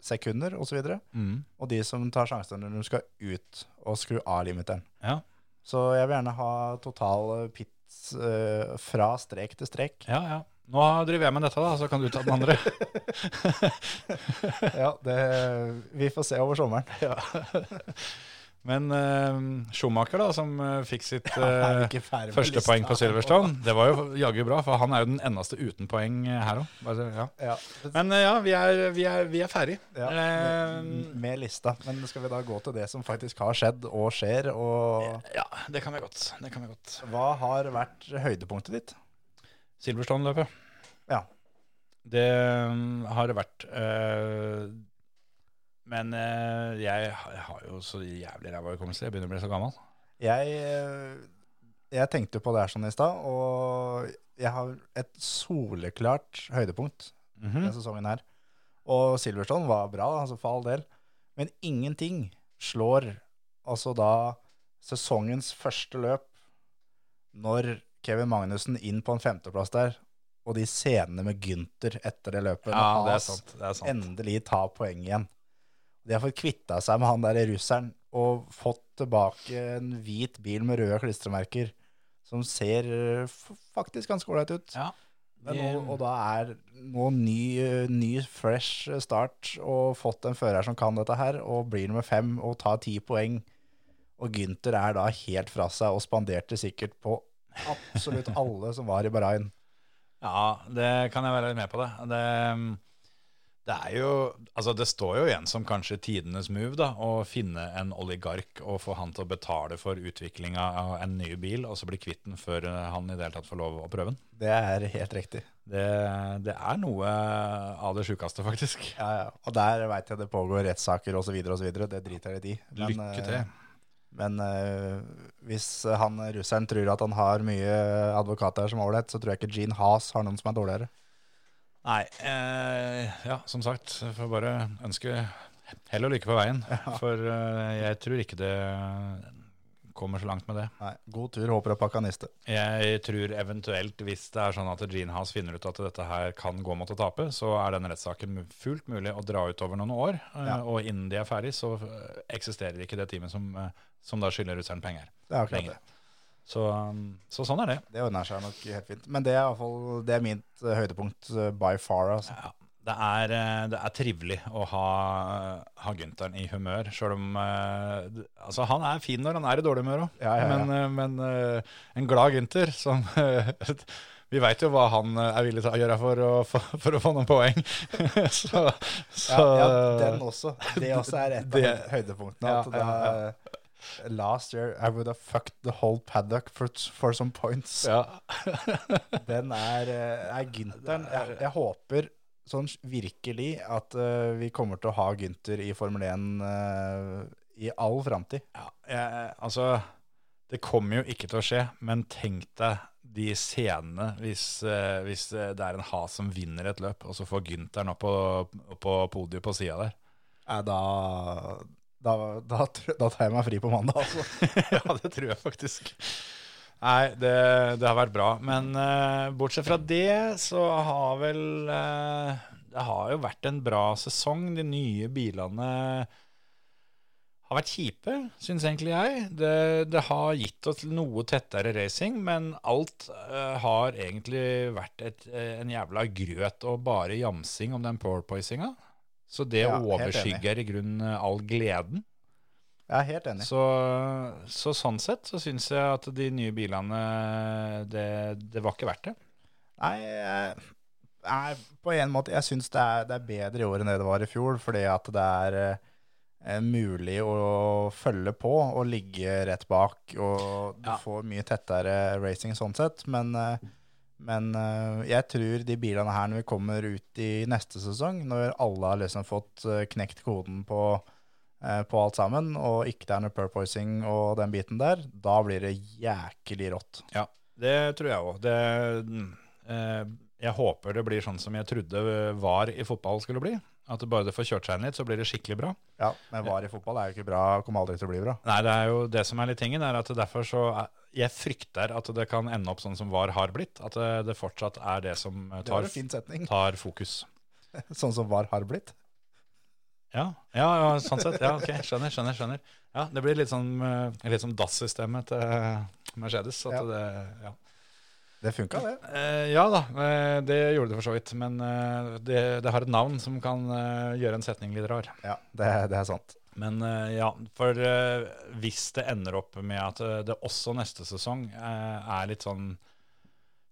[SPEAKER 5] sekunder osv.
[SPEAKER 4] Mm.
[SPEAKER 5] Og de som tar sjanser når de skal ut og skru av limiteren.
[SPEAKER 4] Ja.
[SPEAKER 5] Så jeg vil gjerne ha total eh, pits eh, fra strek til strek.
[SPEAKER 4] Ja, ja. Nå driver jeg med dette, da, så kan du ta den *laughs* andre.
[SPEAKER 5] Ja, det, vi får se over sommeren.
[SPEAKER 4] *laughs* Men eh, Schumacher, da, som eh, fikk *laughs* sitt
[SPEAKER 5] Er vi
[SPEAKER 4] eh,
[SPEAKER 5] ikke ferdig med
[SPEAKER 4] første
[SPEAKER 5] lista?
[SPEAKER 4] poeng på Silverstone, det var jo jaggu bra, for han er jo den eneste uten poeng eh, her òg. Bare- Ja.
[SPEAKER 5] Ja,
[SPEAKER 4] Men eh, ja, vi er, vi er, vi er ferdig.
[SPEAKER 5] ja,
[SPEAKER 4] Eh,
[SPEAKER 5] med, med lista. Men skal vi da gå til det som faktisk har skjedd og skjer, og
[SPEAKER 4] ja, det kan vi godt. Det kan vi godt.
[SPEAKER 5] hva har vært høydepunktet ditt?
[SPEAKER 4] Silverstone-løpet.
[SPEAKER 5] Ja.
[SPEAKER 4] Det mm, har det vært. eh, men eh, jeg ha- jeg har jo så jævlig ræva hukommelse. Jeg begynner å bli så gammel.
[SPEAKER 5] Jeg, eh, jeg tenkte på det her sånn i stad, og jeg har et soleklart høydepunkt
[SPEAKER 4] Mhm.
[SPEAKER 5] denne sesongen her. Og Silverstone var bra, altså for all del. Men ingenting slår altså da sesongens første løp når Kevin Magnussen inn på en femteplass der, og de scenene med Gynter etter det løpet. altså.
[SPEAKER 4] Ja,
[SPEAKER 5] når
[SPEAKER 4] det er
[SPEAKER 5] Haas
[SPEAKER 4] sant. Det er sant.
[SPEAKER 5] endelig ta poeng igjen. De har fått kvitta seg med han der russeren og fått tilbake en hvit bil med røde klistremerker som ser eh, f- faktisk ganske ålreit ut.
[SPEAKER 4] Ja.
[SPEAKER 5] Men nå, og da er nå ny, eh, ny, fresh start og fått en fører som kan dette her, og blir nummer fem og tar ti poeng. Og Gynter er da helt fra seg og spanderte sikkert på absolutt alle som var i Bahrain.
[SPEAKER 4] Ja, det kan jeg være litt med på det. Det, um, det er jo Altså, det står jo igjen som kanskje tidenes move, da, å finne en oligark og få han til å betale for utviklinga av en ny bil, og så bli kvitt den før eh, han i det hele tatt får lov å prøve den.
[SPEAKER 5] Det er helt riktig.
[SPEAKER 4] Det, det er noe eh, av det sjukeste, faktisk.
[SPEAKER 5] Ja, ja. Og der veit jeg det pågår rettssaker osv. Det driter jeg litt i.
[SPEAKER 4] Lykke til.
[SPEAKER 5] eh, Men eh, hvis han russeren tror at han har mye advokater som ålreit, så tror jeg ikke Gene Haas har noen som er dårligere.
[SPEAKER 4] Nei, eh, ja, som sagt, jeg får bare ønske hell og lykke på *laughs* veien. For eh, jeg tror ikke det kommer så langt med det.
[SPEAKER 5] Nei, God tur, håper og pakkaniste.
[SPEAKER 4] Jeg tror eventuelt, hvis det er sånn at Gene Haas finner ut at dette her kan gå mot å tape, så er den rettssaken mu- fullt mulig å dra ut over noen år. eh,
[SPEAKER 5] Ja.
[SPEAKER 4] Og innen de er ferdig, så eh, eksisterer ikke det teamet som, eh, som da skylder russeren penger.
[SPEAKER 5] Det er akkurat
[SPEAKER 4] Penger.
[SPEAKER 5] det.
[SPEAKER 4] Så, um, så sånn er det.
[SPEAKER 5] Det ordner seg nok helt fint. Men det er iallfall det er mitt eh, høydepunkt eh, by far. Altså.
[SPEAKER 4] Ja, det er, eh, det er trivelig å ha, ha Gunteren i humør, sjøl om eh, d- Altså, han er fin når han er i dårlig humør òg,
[SPEAKER 5] Ja, ja, ja.
[SPEAKER 4] men, eh, men eh, en glad Gynter som *laughs* Vi veit jo hva han eh, er villig til å gjøre for å, få- for å få noen poeng. *laughs* så så
[SPEAKER 5] Ja, ja, den også. Det også er et av
[SPEAKER 4] Det-
[SPEAKER 5] høydepunktene.
[SPEAKER 4] Ja,
[SPEAKER 5] At
[SPEAKER 4] ja, ja.
[SPEAKER 5] det er, eh, Last year I would have fucked the whole paddock for, for some points.
[SPEAKER 4] ja.
[SPEAKER 5] Den er, eh, er Gynteren. Jeg, jeg håper sånn virkelig at eh, vi kommer til å ha Gynter i Formel 1 eh, i all framtid.
[SPEAKER 4] Ja, jeg, altså Det kommer jo ikke til å skje, men tenk deg de scenene hvis, eh, hvis det er en has som vinner et løp, og så får Gynteren opp på, opp på podiet på sida der.
[SPEAKER 5] Eh, Da, da, da, tr- da tar jeg meg fri på mandag, altså.
[SPEAKER 4] *laughs* ja, det tror jeg faktisk. Nei, det, det har vært bra. Men eh, bortsett fra det, så har vel eh, Det har jo vært en bra sesong. De nye bilene har vært kjipe, syns egentlig jeg. Det, det har gitt oss noe tettere racing, men alt eh, har egentlig vært et, eh, en jævla grøt og bare jamsing om den powerpoisinga. Så det
[SPEAKER 5] Ja, helt enig.
[SPEAKER 4] overskygger i grunnen eh, all gleden.
[SPEAKER 5] Jeg er helt enig.
[SPEAKER 4] Så, så sånn sett så syns jeg at de nye bilene det, det var ikke verdt det.
[SPEAKER 5] Nei, jeg- nei, på en måte, jeg syns det, er- det er bedre i år enn det det var i fjor, fordi at det er eh, mulig å følge på og ligge rett bak, og du
[SPEAKER 4] Ja.
[SPEAKER 5] får mye tettere racing sånn sett, men, eh, men eh, jeg tror de bilene her når vi kommer ut i neste sesong, når alle har liksom fått eh, knekt koden på eh, på alt sammen, og ikke det er noe purposing og den biten der, da blir det jækelig rått.
[SPEAKER 4] Ja, det tror jeg òg. Eh, jeg håper det blir sånn som jeg trodde var i fotball skulle bli. At det bare det får kjørt seg inn litt, så blir det skikkelig bra.
[SPEAKER 5] Ja, men var i fotball er jo ikke bra, kommer aldri til å bli bra.
[SPEAKER 4] Nei, det er jo det som er litt tingen, er at derfor så er, Jeg frykter at det kan ende opp sånn som VAR har blitt. At det, det fortsatt er det som eh,
[SPEAKER 5] Det var
[SPEAKER 4] tar,
[SPEAKER 5] en fin setning, *laughs*
[SPEAKER 4] tar fokus.
[SPEAKER 5] sånn som var har blitt.
[SPEAKER 4] Ja, ja, ja sånn sett. Ja, ok, Skjønner, skjønner. skjønner. Ja, Det blir litt sånn, eh, litt som DAS-systemet til eh, Mercedes. At
[SPEAKER 5] Ja.
[SPEAKER 4] Det, ja.
[SPEAKER 5] Det funka, det.
[SPEAKER 4] Eh, ja da, eh, det gjorde det for så vidt. Men eh, det, det har et navn som kan eh, gjøre en setning litt rar.
[SPEAKER 5] Ja, det, det er sant.
[SPEAKER 4] Men eh, ja, for eh, hvis det ender opp med at eh, det også neste sesong eh, er litt sånn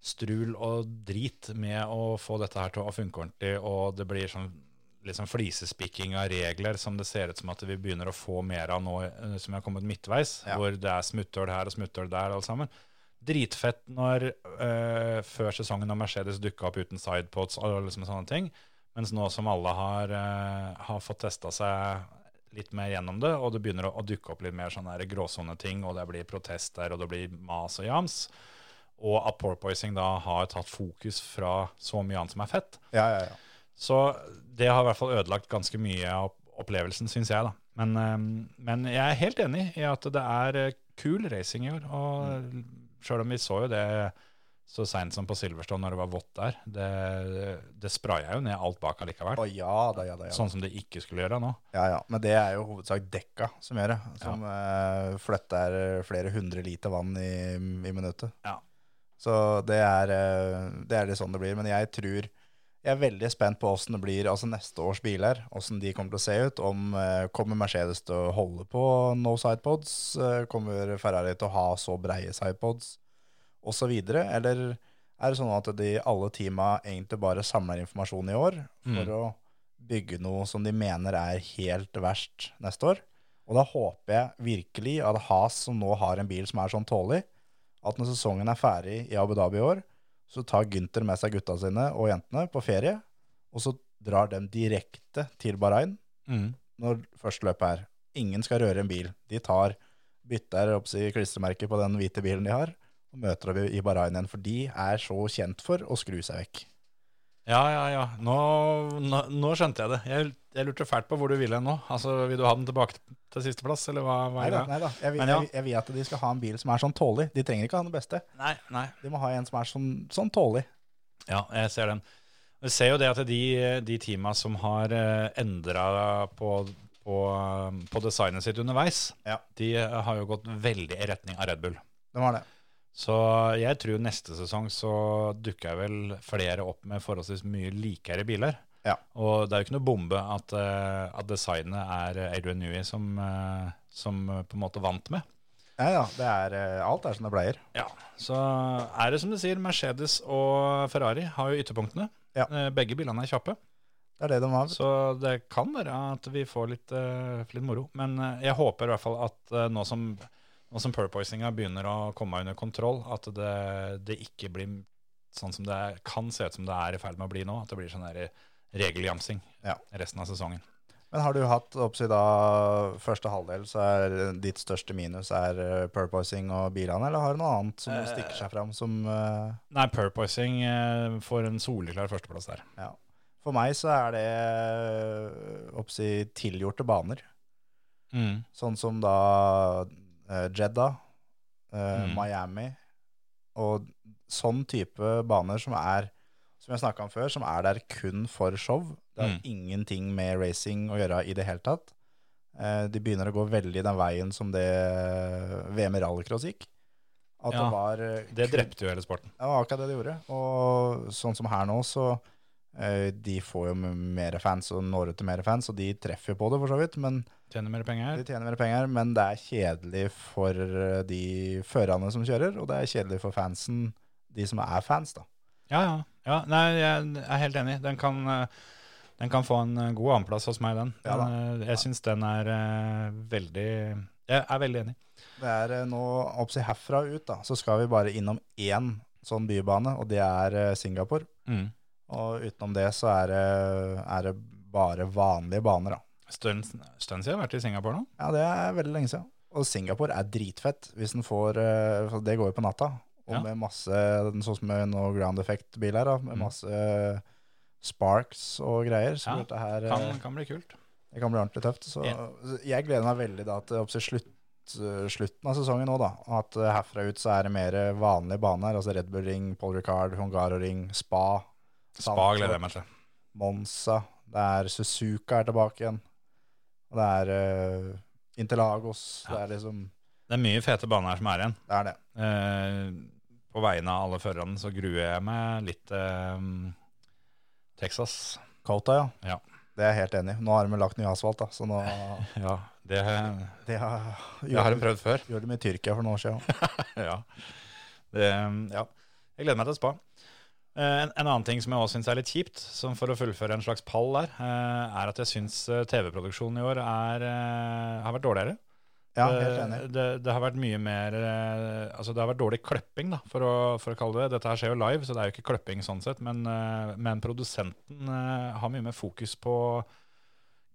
[SPEAKER 4] strul og drit med å få dette her til å funke ordentlig, og det blir sånn liksom flisespikking av regler som det ser ut som at vi begynner å få mer av nå eh, som er kommet midtveis,
[SPEAKER 5] Ja.
[SPEAKER 4] hvor det er smutthull her og smutthull der, alt sammen. Dritfett når eh, før sesongen når Mercedes dukka opp uten sidepods og liksom sånne ting. Mens nå som alle har, eh, har fått testa seg litt mer gjennom det, og det begynner å, å dukke opp litt mer sånne her gråsone ting, og det blir protester, og det blir mas og jams. Og at porpoising da har tatt fokus fra så mye annet som er fett.
[SPEAKER 5] Ja, ja, ja.
[SPEAKER 4] Så det har i hvert fall ødelagt ganske mye av opplevelsen, syns jeg. da. Men, eh, men jeg er helt enig i at det er eh, kul racing i år. Og sjøl om vi så jo det så seint som på Silverstone når det var vått der, det, det spraya jo ned alt bak allikevel.
[SPEAKER 5] Å ja da, ja da, ja. da.
[SPEAKER 4] Sånn som det ikke skulle gjøre nå.
[SPEAKER 5] ja, ja. Men det er jo hovedsak dekka som gjør det. Som eh, flytter flere hundre liter vann i, i minuttet.
[SPEAKER 4] Ja.
[SPEAKER 5] Så det er, eh, det er litt sånn det blir. Men jeg tror jeg er veldig spent på åssen det blir altså neste års biler. Åssen de kommer til å se ut. Om eh, Kommer Mercedes til å holde på no sidepods? Eh, Kommer Ferrari til å ha så breie sidepods? Og så videre. Eller er det sånn at de, alle teama egentlig bare samler informasjon i år for å bygge noe som de mener er helt verst neste år? Og da håper jeg virkelig at Has, som nå har en bil som er sånn tålig, at når sesongen er ferdig i Abu Dhabi i år, så tar Gynter med seg gutta sine og jentene på ferie, og så drar dem direkte til Bahrain
[SPEAKER 4] Mm.
[SPEAKER 5] når første løpet er. Ingen skal røre en bil. De tar bytter opp si, klistremerker på den hvite bilen de har, og møter dem i Bahrain igjen, for de er så kjent for å skru seg vekk.
[SPEAKER 4] Ja, ja, ja. Nå, nå, nå skjønte jeg det. Jeg, jeg lurte fælt på hvor du ville nå. Altså, Vil du ha den tilbake til sisteplass, eller hva, hva er
[SPEAKER 5] Neida,
[SPEAKER 4] det?
[SPEAKER 5] neida. Jeg, vil-
[SPEAKER 4] Men ja.
[SPEAKER 5] jeg, vil- jeg vil at de skal ha en bil som er sånn tålig. De trenger ikke ha den beste.
[SPEAKER 4] Nei, nei.
[SPEAKER 5] De må ha en som er sånn, sånn tålig.
[SPEAKER 4] Ja, jeg ser den. Vi ser jo det at de, de teama som har endra på, på, på designet sitt underveis,
[SPEAKER 5] Ja.
[SPEAKER 4] de eh, har jo gått veldig i retning av Red Bull.
[SPEAKER 5] De har det.
[SPEAKER 4] Så jeg tror neste sesong så dukker jeg vel flere opp med forholdsvis mye likere biler.
[SPEAKER 5] Ja.
[SPEAKER 4] Og det er jo ikke noe bombe at, eh, at designet er Adrian Newey som, eh, som på en måte vant med.
[SPEAKER 5] Ja, ja. Det er, eh, alt er som det pleier.
[SPEAKER 4] Ja, Så er det som du sier, Mercedes og Ferrari har jo ytterpunktene.
[SPEAKER 5] Ja.
[SPEAKER 4] Eh, Begge bilene er kjappe,
[SPEAKER 5] Det er det de har.
[SPEAKER 4] så det kan være at vi får litt, eh, litt moro. Men eh, jeg håper i hvert fall at eh, nå som, nå som purpoisinga begynner å komme under kontroll, at det, det ikke blir sånn som det er- kan se ut som det er i ferd med å bli nå. At det blir sånn der regeljamsing
[SPEAKER 5] Ja.
[SPEAKER 4] resten av sesongen.
[SPEAKER 5] Men har du hatt oppsi da første halvdel, så er ditt største minus er eh, purposing og bilene, eller har du noe annet som stikker seg fram som eh,
[SPEAKER 4] Nei, purpoising eh, får en soleklar førsteplass der.
[SPEAKER 5] Ja. For meg så er det eh, oppsi tilgjorte baner. Sånn som da eh, Jeddah, eh,
[SPEAKER 4] Mm.
[SPEAKER 5] Miami og sånn type baner som er som jeg snakka om før, som er der kun for show. Det har
[SPEAKER 4] Mm.
[SPEAKER 5] ingenting med racing å gjøre i det hele tatt. Eh, de begynner å gå veldig den veien som det eh, VM i rallycross gikk. At
[SPEAKER 4] Ja,
[SPEAKER 5] det var eh,
[SPEAKER 4] Det
[SPEAKER 5] kun-
[SPEAKER 4] drepte jo hele sporten.
[SPEAKER 5] det var akkurat det de gjorde. Og sånn som her nå, så eh, de får jo mer fans og når ut til mer fans, og de treffer jo på det for så vidt, men
[SPEAKER 4] Tjener mer penger.
[SPEAKER 5] de tjener mer penger. Men det er kjedelig for eh, de førerne som kjører, og det er kjedelig for fansen, de som er fans, da.
[SPEAKER 4] Ja, ja. ja nei, jeg er helt enig. Den kan, eh, den kan få en eh, god annenplass hos meg, den.
[SPEAKER 5] Ja da.
[SPEAKER 4] Den, eh, jeg syns den er eh, veldig Jeg er veldig enig.
[SPEAKER 5] Det er eh, nå oppsi herfra og ut, da, så skal vi bare innom én sånn bybane, og det er eh, Singapore. Og utenom det så er det, er det bare vanlige baner, da.
[SPEAKER 4] Stund stund siden jeg har vært i Singapore nå.
[SPEAKER 5] Ja, det er veldig lenge siden. Og Singapore er dritfett hvis den får eh, for Det går jo på natta. Og
[SPEAKER 4] Ja. Mm.
[SPEAKER 5] med masse Sånn som med noe ground effect-bil her, da, med masse eh, sparks og greier. Så
[SPEAKER 4] Ja,
[SPEAKER 5] dette her eh,
[SPEAKER 4] Kan, kan bli kult.
[SPEAKER 5] det kan bli ordentlig tøft. Så
[SPEAKER 4] Ja.
[SPEAKER 5] så jeg gleder meg veldig da til opp til slutt, eh, slutten av sesongen nå, da. At eh, herfra ut så er det mer eh, vanlige baner. Altså Red Bull Ring, Paul Ricard, Hungaroring, Spa,
[SPEAKER 4] Spa gleder jeg meg til.
[SPEAKER 5] Monza. Det er Suzuka er tilbake igjen. Og det er eh, Interlagos. Det
[SPEAKER 4] Ja.
[SPEAKER 5] er liksom
[SPEAKER 4] Det er mye fete baner her som er igjen.
[SPEAKER 5] Det er det.
[SPEAKER 4] Eh, på vegne av alle førerne så gruer jeg meg litt eh, Texas.
[SPEAKER 5] Kauta, ja.
[SPEAKER 4] Ja.
[SPEAKER 5] Det er jeg helt enig i. Nå har de lagt ny asfalt, da, så nå
[SPEAKER 4] *laughs* Ja, det,
[SPEAKER 5] Det, har,
[SPEAKER 4] det har de prøvd før.
[SPEAKER 5] Gjorde de i Tyrkia for noen år siden.
[SPEAKER 4] *laughs* ja. Det, um, ja. Jeg gleder meg til spa. Eh, En, en annen ting som jeg også syns er litt kjipt, som for å fullføre en slags pall der, eh, er at jeg syns TV-produksjonen i år er, eh, har vært dårligere.
[SPEAKER 5] Ja, helt enig.
[SPEAKER 4] Eh, Det, det, det har vært mye mer eh, Altså, det har vært dårlig kløpping, da, for å, for å kalle det Dette her skjer jo live, så det er jo ikke kløpping sånn sett, men, eh, men produsenten eh, har mye mer fokus på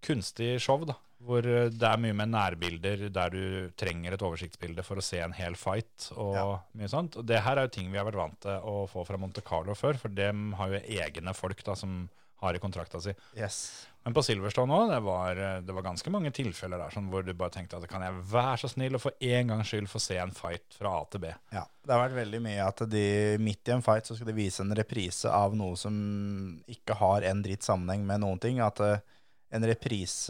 [SPEAKER 4] kunstig show, da. Hvor eh, det er mye mer nærbilder der du trenger et oversiktsbilde for å se en hel fight og
[SPEAKER 5] Ja.
[SPEAKER 4] mye sånt. Og det her er jo ting vi har vært vant til å få fra Monte Carlo før, for dem har jo egne folk da som har i kontrakta si.
[SPEAKER 5] Yes.
[SPEAKER 4] Men på Silverstone òg, det, var- eh, det var ganske mange tilfeller der sånn, hvor du bare tenkte at kan jeg være så snill å for en gangs skyld få se en fight fra A til B.
[SPEAKER 5] Ja. Det har vært veldig mye at de midt i en fight så skal de vise en reprise av noe som ikke har en dritt sammenheng med noen ting. At eh, en reprise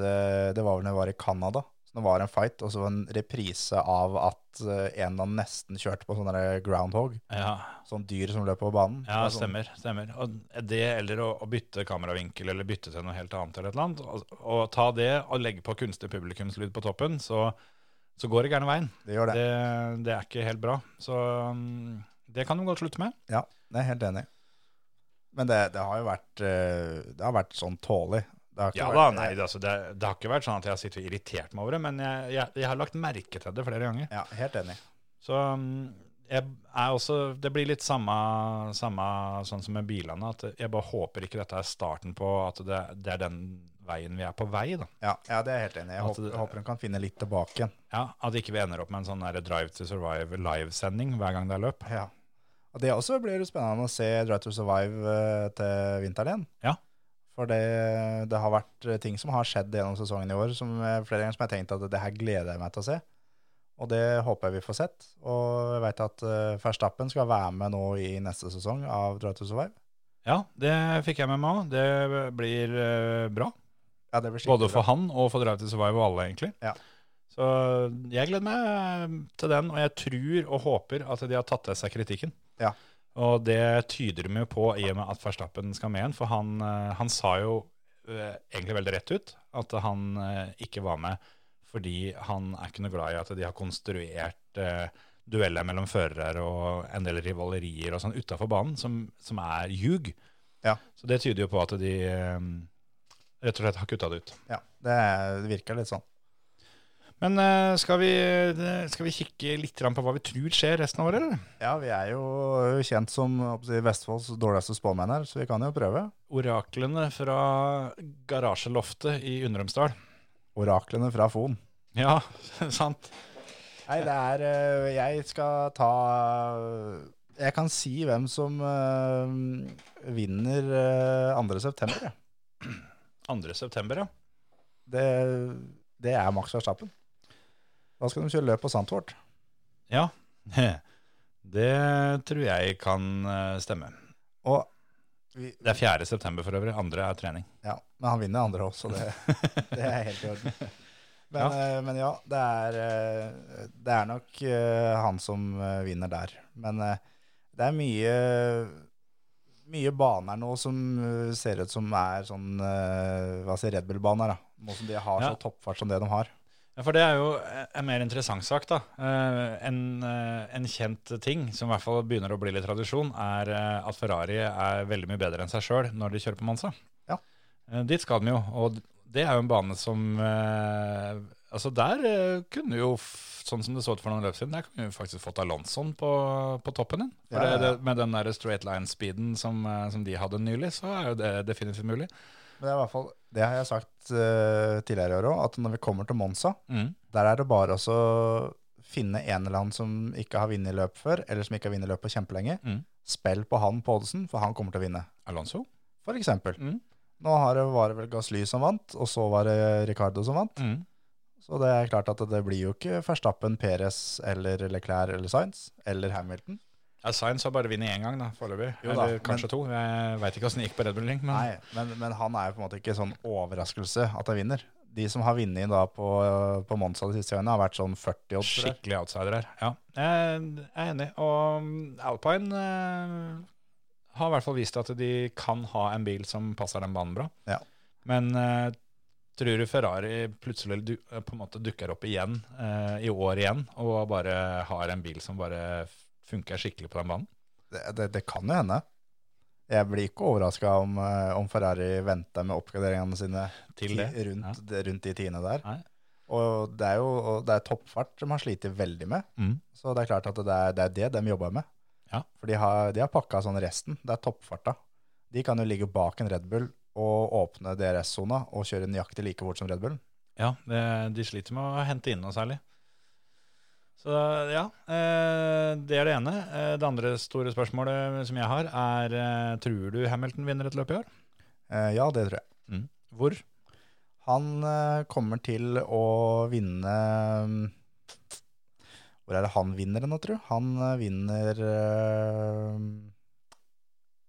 [SPEAKER 5] Det var vel når det var i Canada. Så det var en fight, og så var det en reprise av at eh, en eller annen nesten kjørte på sånn der groundhog.
[SPEAKER 4] Ja,
[SPEAKER 5] Sånn dyr som løper på banen. Det
[SPEAKER 4] ja
[SPEAKER 5] var sånn-
[SPEAKER 4] stemmer. stemmer. Og det eller å, å bytte kameravinkel eller bytte til noe helt annet eller et eller annet. Og, og ta det og legge på kunstig publikumslyd på toppen, så, så går det gærne veien.
[SPEAKER 5] Det gjør det.
[SPEAKER 4] Det, det er ikke helt bra. Så mm, det kan de godt slutte med.
[SPEAKER 5] Ja, det er jeg helt enig. i. Men det, det har jo vært eh, Det har vært sånn tålig. Det har ikke
[SPEAKER 4] Ja da,
[SPEAKER 5] vært-
[SPEAKER 4] nei, det, altså, det, det har ikke vært sånn at jeg har sittet og irritert meg over det, men jeg, jeg, jeg har lagt merke til det flere ganger.
[SPEAKER 5] Ja, helt enig.
[SPEAKER 4] Så mm, jeg er også, det blir litt samme, samme sånn som med bilene, at jeg bare håper ikke dette er starten på at det, det er den veien vi er på vei. Da.
[SPEAKER 5] Ja, ja det er jeg helt enig. i. Jeg
[SPEAKER 4] At
[SPEAKER 5] håper,
[SPEAKER 4] det-
[SPEAKER 5] håper hun kan finne litt tilbake igjen.
[SPEAKER 4] Ja, at ikke vi ender opp med en sånn der Drive to Survive live-sending hver gang det er løp.
[SPEAKER 5] Ja. Og det også blir jo spennende å se Drive to Survive eh, til vinteren igjen.
[SPEAKER 4] Ja.
[SPEAKER 5] For det, det har vært eh, ting som har skjedd gjennom sesongen i år, som eh, flere ganger som jeg har tenkt at det her gleder jeg meg til å se. Og det håper jeg vi får sett. Og jeg vet at eh, Verstappen skal være med nå i neste sesong av Drive to Survive.
[SPEAKER 4] Ja, det fikk jeg med meg òg. Det blir eh, bra.
[SPEAKER 5] Ja, det blir skikkelig
[SPEAKER 4] Både
[SPEAKER 5] bra.
[SPEAKER 4] for han og for Drive to Survive og alle, egentlig.
[SPEAKER 5] Ja.
[SPEAKER 4] Så jeg gleder meg eh, til den, og jeg tror og håper at de har tatt til seg kritikken.
[SPEAKER 5] Ja.
[SPEAKER 4] Og det tyder de jo på i og med at Verstappen skal med igjen, for han, eh, han sa jo eh, egentlig veldig rett ut at han eh, ikke var med fordi han er ikke noe glad i at de har konstruert eh, dueller mellom førere og en del rivalerier og sånn utafor banen, som, som er ljug.
[SPEAKER 5] Ja.
[SPEAKER 4] Så det tyder jo på at de eh, rett og slett har kutta det ut.
[SPEAKER 5] Ja, det, er, det virker litt sånn.
[SPEAKER 4] Men eh, skal, vi, eh, skal vi kikke litt grann på hva vi tror skjer resten av året, eller?
[SPEAKER 5] Ja, vi er jo kjent som hva skal jeg si, Vestfolds dårligste spåmenn her, så vi kan jo prøve.
[SPEAKER 4] Oraklene fra garasjeloftet i Undrumsdal.
[SPEAKER 5] Oraklene fra Fon.
[SPEAKER 4] Ja, *laughs* sant.
[SPEAKER 5] Nei, det er eh, Jeg skal ta Jeg kan si hvem som eh, vinner eh, 2. september. jeg.
[SPEAKER 4] 2. september, ja.
[SPEAKER 5] Det, det er Max Verstappen. Da skal de kjøre løp på Sandtvort.
[SPEAKER 4] Ja, det tror jeg kan eh, stemme.
[SPEAKER 5] Og vi,
[SPEAKER 4] Det er 4. september for øvrig, andre er trening.
[SPEAKER 5] Ja, men han vinner andre også,
[SPEAKER 4] *laughs*
[SPEAKER 5] det, det er helt i orden. Men
[SPEAKER 4] Ja.
[SPEAKER 5] ja, men ja det, er, eh, det er nok eh, han som eh, vinner der. Men eh, det er mye, mye baner nå som eh, ser ut som er sånn eh, hva sier Red Bull-baner. da. Nå som de har
[SPEAKER 4] Ja.
[SPEAKER 5] så toppfart som det de har.
[SPEAKER 4] Ja, For det er jo en mer interessant sak, da. Eh, En, eh, en kjent ting, som i hvert fall begynner å bli litt tradisjon, er eh, at Ferrari er veldig mye bedre enn seg sjøl når de kjører på Monza.
[SPEAKER 5] Ja.
[SPEAKER 4] Eh, Dit skal de jo, og det er jo en bane som eh, Altså, der eh, kunne jo, f- sånn som det så ut for noen løp siden, der kunne vi faktisk fått Alonson på, på toppen igjen. For
[SPEAKER 5] Ja, ja,
[SPEAKER 4] Det,
[SPEAKER 5] ja.
[SPEAKER 4] det, med den der straight line-speeden som, eh, som de hadde nylig, så er jo det definitivt mulig.
[SPEAKER 5] Men det er i hvert fall, det har jeg sagt eh, tidligere i år òg, at når vi kommer til Monza,
[SPEAKER 4] Mm.
[SPEAKER 5] der er det bare også å finne en eller annen som ikke har vunnet løp før, eller som ikke har vunnet løp på kjempelenge.
[SPEAKER 4] Mm.
[SPEAKER 5] Spill på han på oddsen, for han kommer til å vinne.
[SPEAKER 4] Alonso?
[SPEAKER 5] For eksempel.
[SPEAKER 4] Mm.
[SPEAKER 5] Nå har det, var det vel Gasly som vant, og så var det Ricardo som vant.
[SPEAKER 4] Mm.
[SPEAKER 5] Så det er klart at det blir jo ikke Verstappen, Perez eller Leclerc eller Sainz eller Hamilton.
[SPEAKER 4] Ja, Sainz har bare vunnet én gang, da, foreløpig.
[SPEAKER 5] Jo da,
[SPEAKER 4] Eller kanskje
[SPEAKER 5] men-
[SPEAKER 4] to. Mm. Jeg veit ikke åssen det gikk på Red Bull Ring. Men
[SPEAKER 5] Nei, men, men han er jo på en måte ikke sånn overraskelse at han vinner. de som har vunnet da på, på Monza de siste årene, har vært sånn 40 odds. tror jeg.
[SPEAKER 4] Skikkelig outsider her. Ja, jeg er enig. Og mm, Alpine eh, har i hvert fall vist at de kan ha en bil som passer den banen bra.
[SPEAKER 5] Ja.
[SPEAKER 4] Men eh, tror du Ferrari plutselig du, eh, på en måte dukker opp igjen eh, i år igjen og bare har en bil som bare funker skikkelig på den banen?
[SPEAKER 5] Det, det, det kan jo hende. Jeg blir ikke overraska om, eh, om Ferrari venter med oppgraderingene sine
[SPEAKER 4] Til det?
[SPEAKER 5] ti- rundt,
[SPEAKER 4] Ja.
[SPEAKER 5] det- rundt de tiende der.
[SPEAKER 4] Nei.
[SPEAKER 5] Og det er jo og det er toppfart de har slitt veldig med.
[SPEAKER 4] Mm.
[SPEAKER 5] Så det er klart at det er det, er det de jobber med.
[SPEAKER 4] Ja.
[SPEAKER 5] For de har, de har pakka sånn resten. Det er toppfarta. De kan jo ligge bak en Red Bull og åpne DRS-sona og kjøre nøyaktig like fort som Red Bull.
[SPEAKER 4] Ja, det, de sliter med å hente inn noe særlig. Så ja, eh, det er det ene. Eh, Det andre store spørsmålet som jeg har, er eh, tror du Hamilton vinner et løp i år? Mm.
[SPEAKER 5] Eh, ja, det tror jeg.
[SPEAKER 4] Hvor?
[SPEAKER 5] Han eh, kommer til å vinne mm, Hvor er det han vinner nå, tro? Han eh, vinner eh,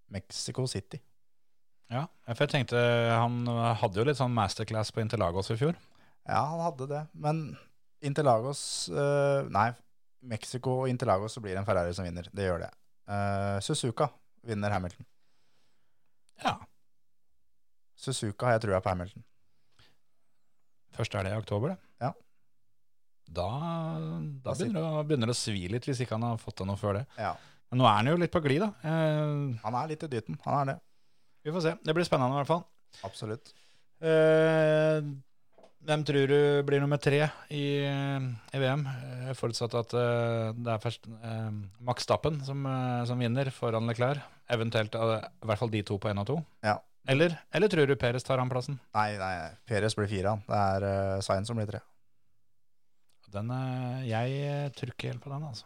[SPEAKER 5] Mexico City.
[SPEAKER 4] Ja, for jeg tenkte han hadde jo litt sånn masterclass på Interlagos i fjor.
[SPEAKER 5] Ja, han hadde det. Men Interlagos eh, Nei, Mexico og Interlagos så blir det en Ferrari som vinner. Det gjør det. Eh, Suzuka vinner Hamilton.
[SPEAKER 4] Ja.
[SPEAKER 5] Suzuka har jeg trua på Hamilton.
[SPEAKER 4] Første helg i oktober, det.
[SPEAKER 5] Ja.
[SPEAKER 4] Da, da begynner, det, å- begynner det å svi litt, hvis ikke han har fått det noe før det.
[SPEAKER 5] Ja,
[SPEAKER 4] Men nå er han jo litt på glid, da. Eh,
[SPEAKER 5] Han er litt i dyten. Han er det.
[SPEAKER 4] vi får se. Det blir spennende i hvert fall.
[SPEAKER 5] Absolutt.
[SPEAKER 4] Eh, hvem tror du blir nummer tre i, i VM? Eh, Forutsatt at eh, det er først eh, Max Stappen som, eh, som vinner foran Leclerc. Eventuelt eh, i hvert fall de to på én og to.
[SPEAKER 5] Ja.
[SPEAKER 4] Eller, eller tror du Peres tar han plassen?
[SPEAKER 5] Nei, nei, Peres blir fire, han. Det er uh, Sainz som blir tre.
[SPEAKER 4] Den, eh, jeg eh, tror ikke helt på den, altså.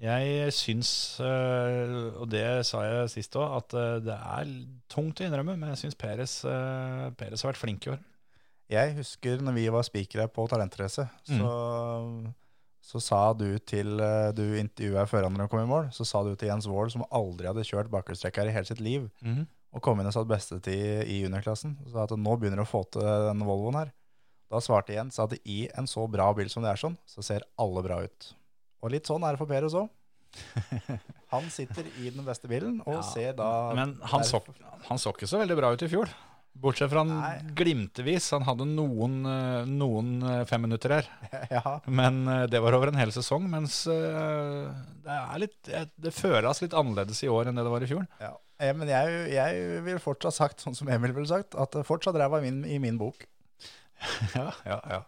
[SPEAKER 4] Jeg syns, eh, og det sa jeg sist òg, at eh, det er l- tungt å innrømme, men jeg syns Peres, eh, Peres har vært flink i år.
[SPEAKER 5] Jeg husker når vi var spikere på talentrace, så, så sa du til eh, Du intervjua føreren når han kom i mål, så sa du til Jens Wold, som aldri hadde kjørt bakhjulstrekker i hele sitt liv, og kom inn og satt bestetid i juniorklassen, og sa at nå begynner du å få til den Volvoen her. Da svarte Jens at i en så bra bil som det er sånn, så ser alle bra ut. Og litt sånn er det for Perez
[SPEAKER 4] *laughs*
[SPEAKER 5] òg. Han sitter i den beste bilen og
[SPEAKER 4] Ja,
[SPEAKER 5] ser da
[SPEAKER 4] Men han så, han så ikke så veldig bra ut i fjor. Bortsett fra han
[SPEAKER 5] Nei.
[SPEAKER 4] glimtevis. Han hadde noen, eh, noen eh, femminutter her.
[SPEAKER 5] *laughs* Ja,
[SPEAKER 4] Men eh, det var over en hel sesong. Mens eh, det, er litt, det- det føles litt annerledes i år enn det det var i fjor.
[SPEAKER 5] Ja. Eh, Men jeg, jeg vil fortsatt sagt, sånn som Emil ville sagt, at det fortsatt ræva i min, i min bok.
[SPEAKER 4] *laughs* Ja, ja, ja.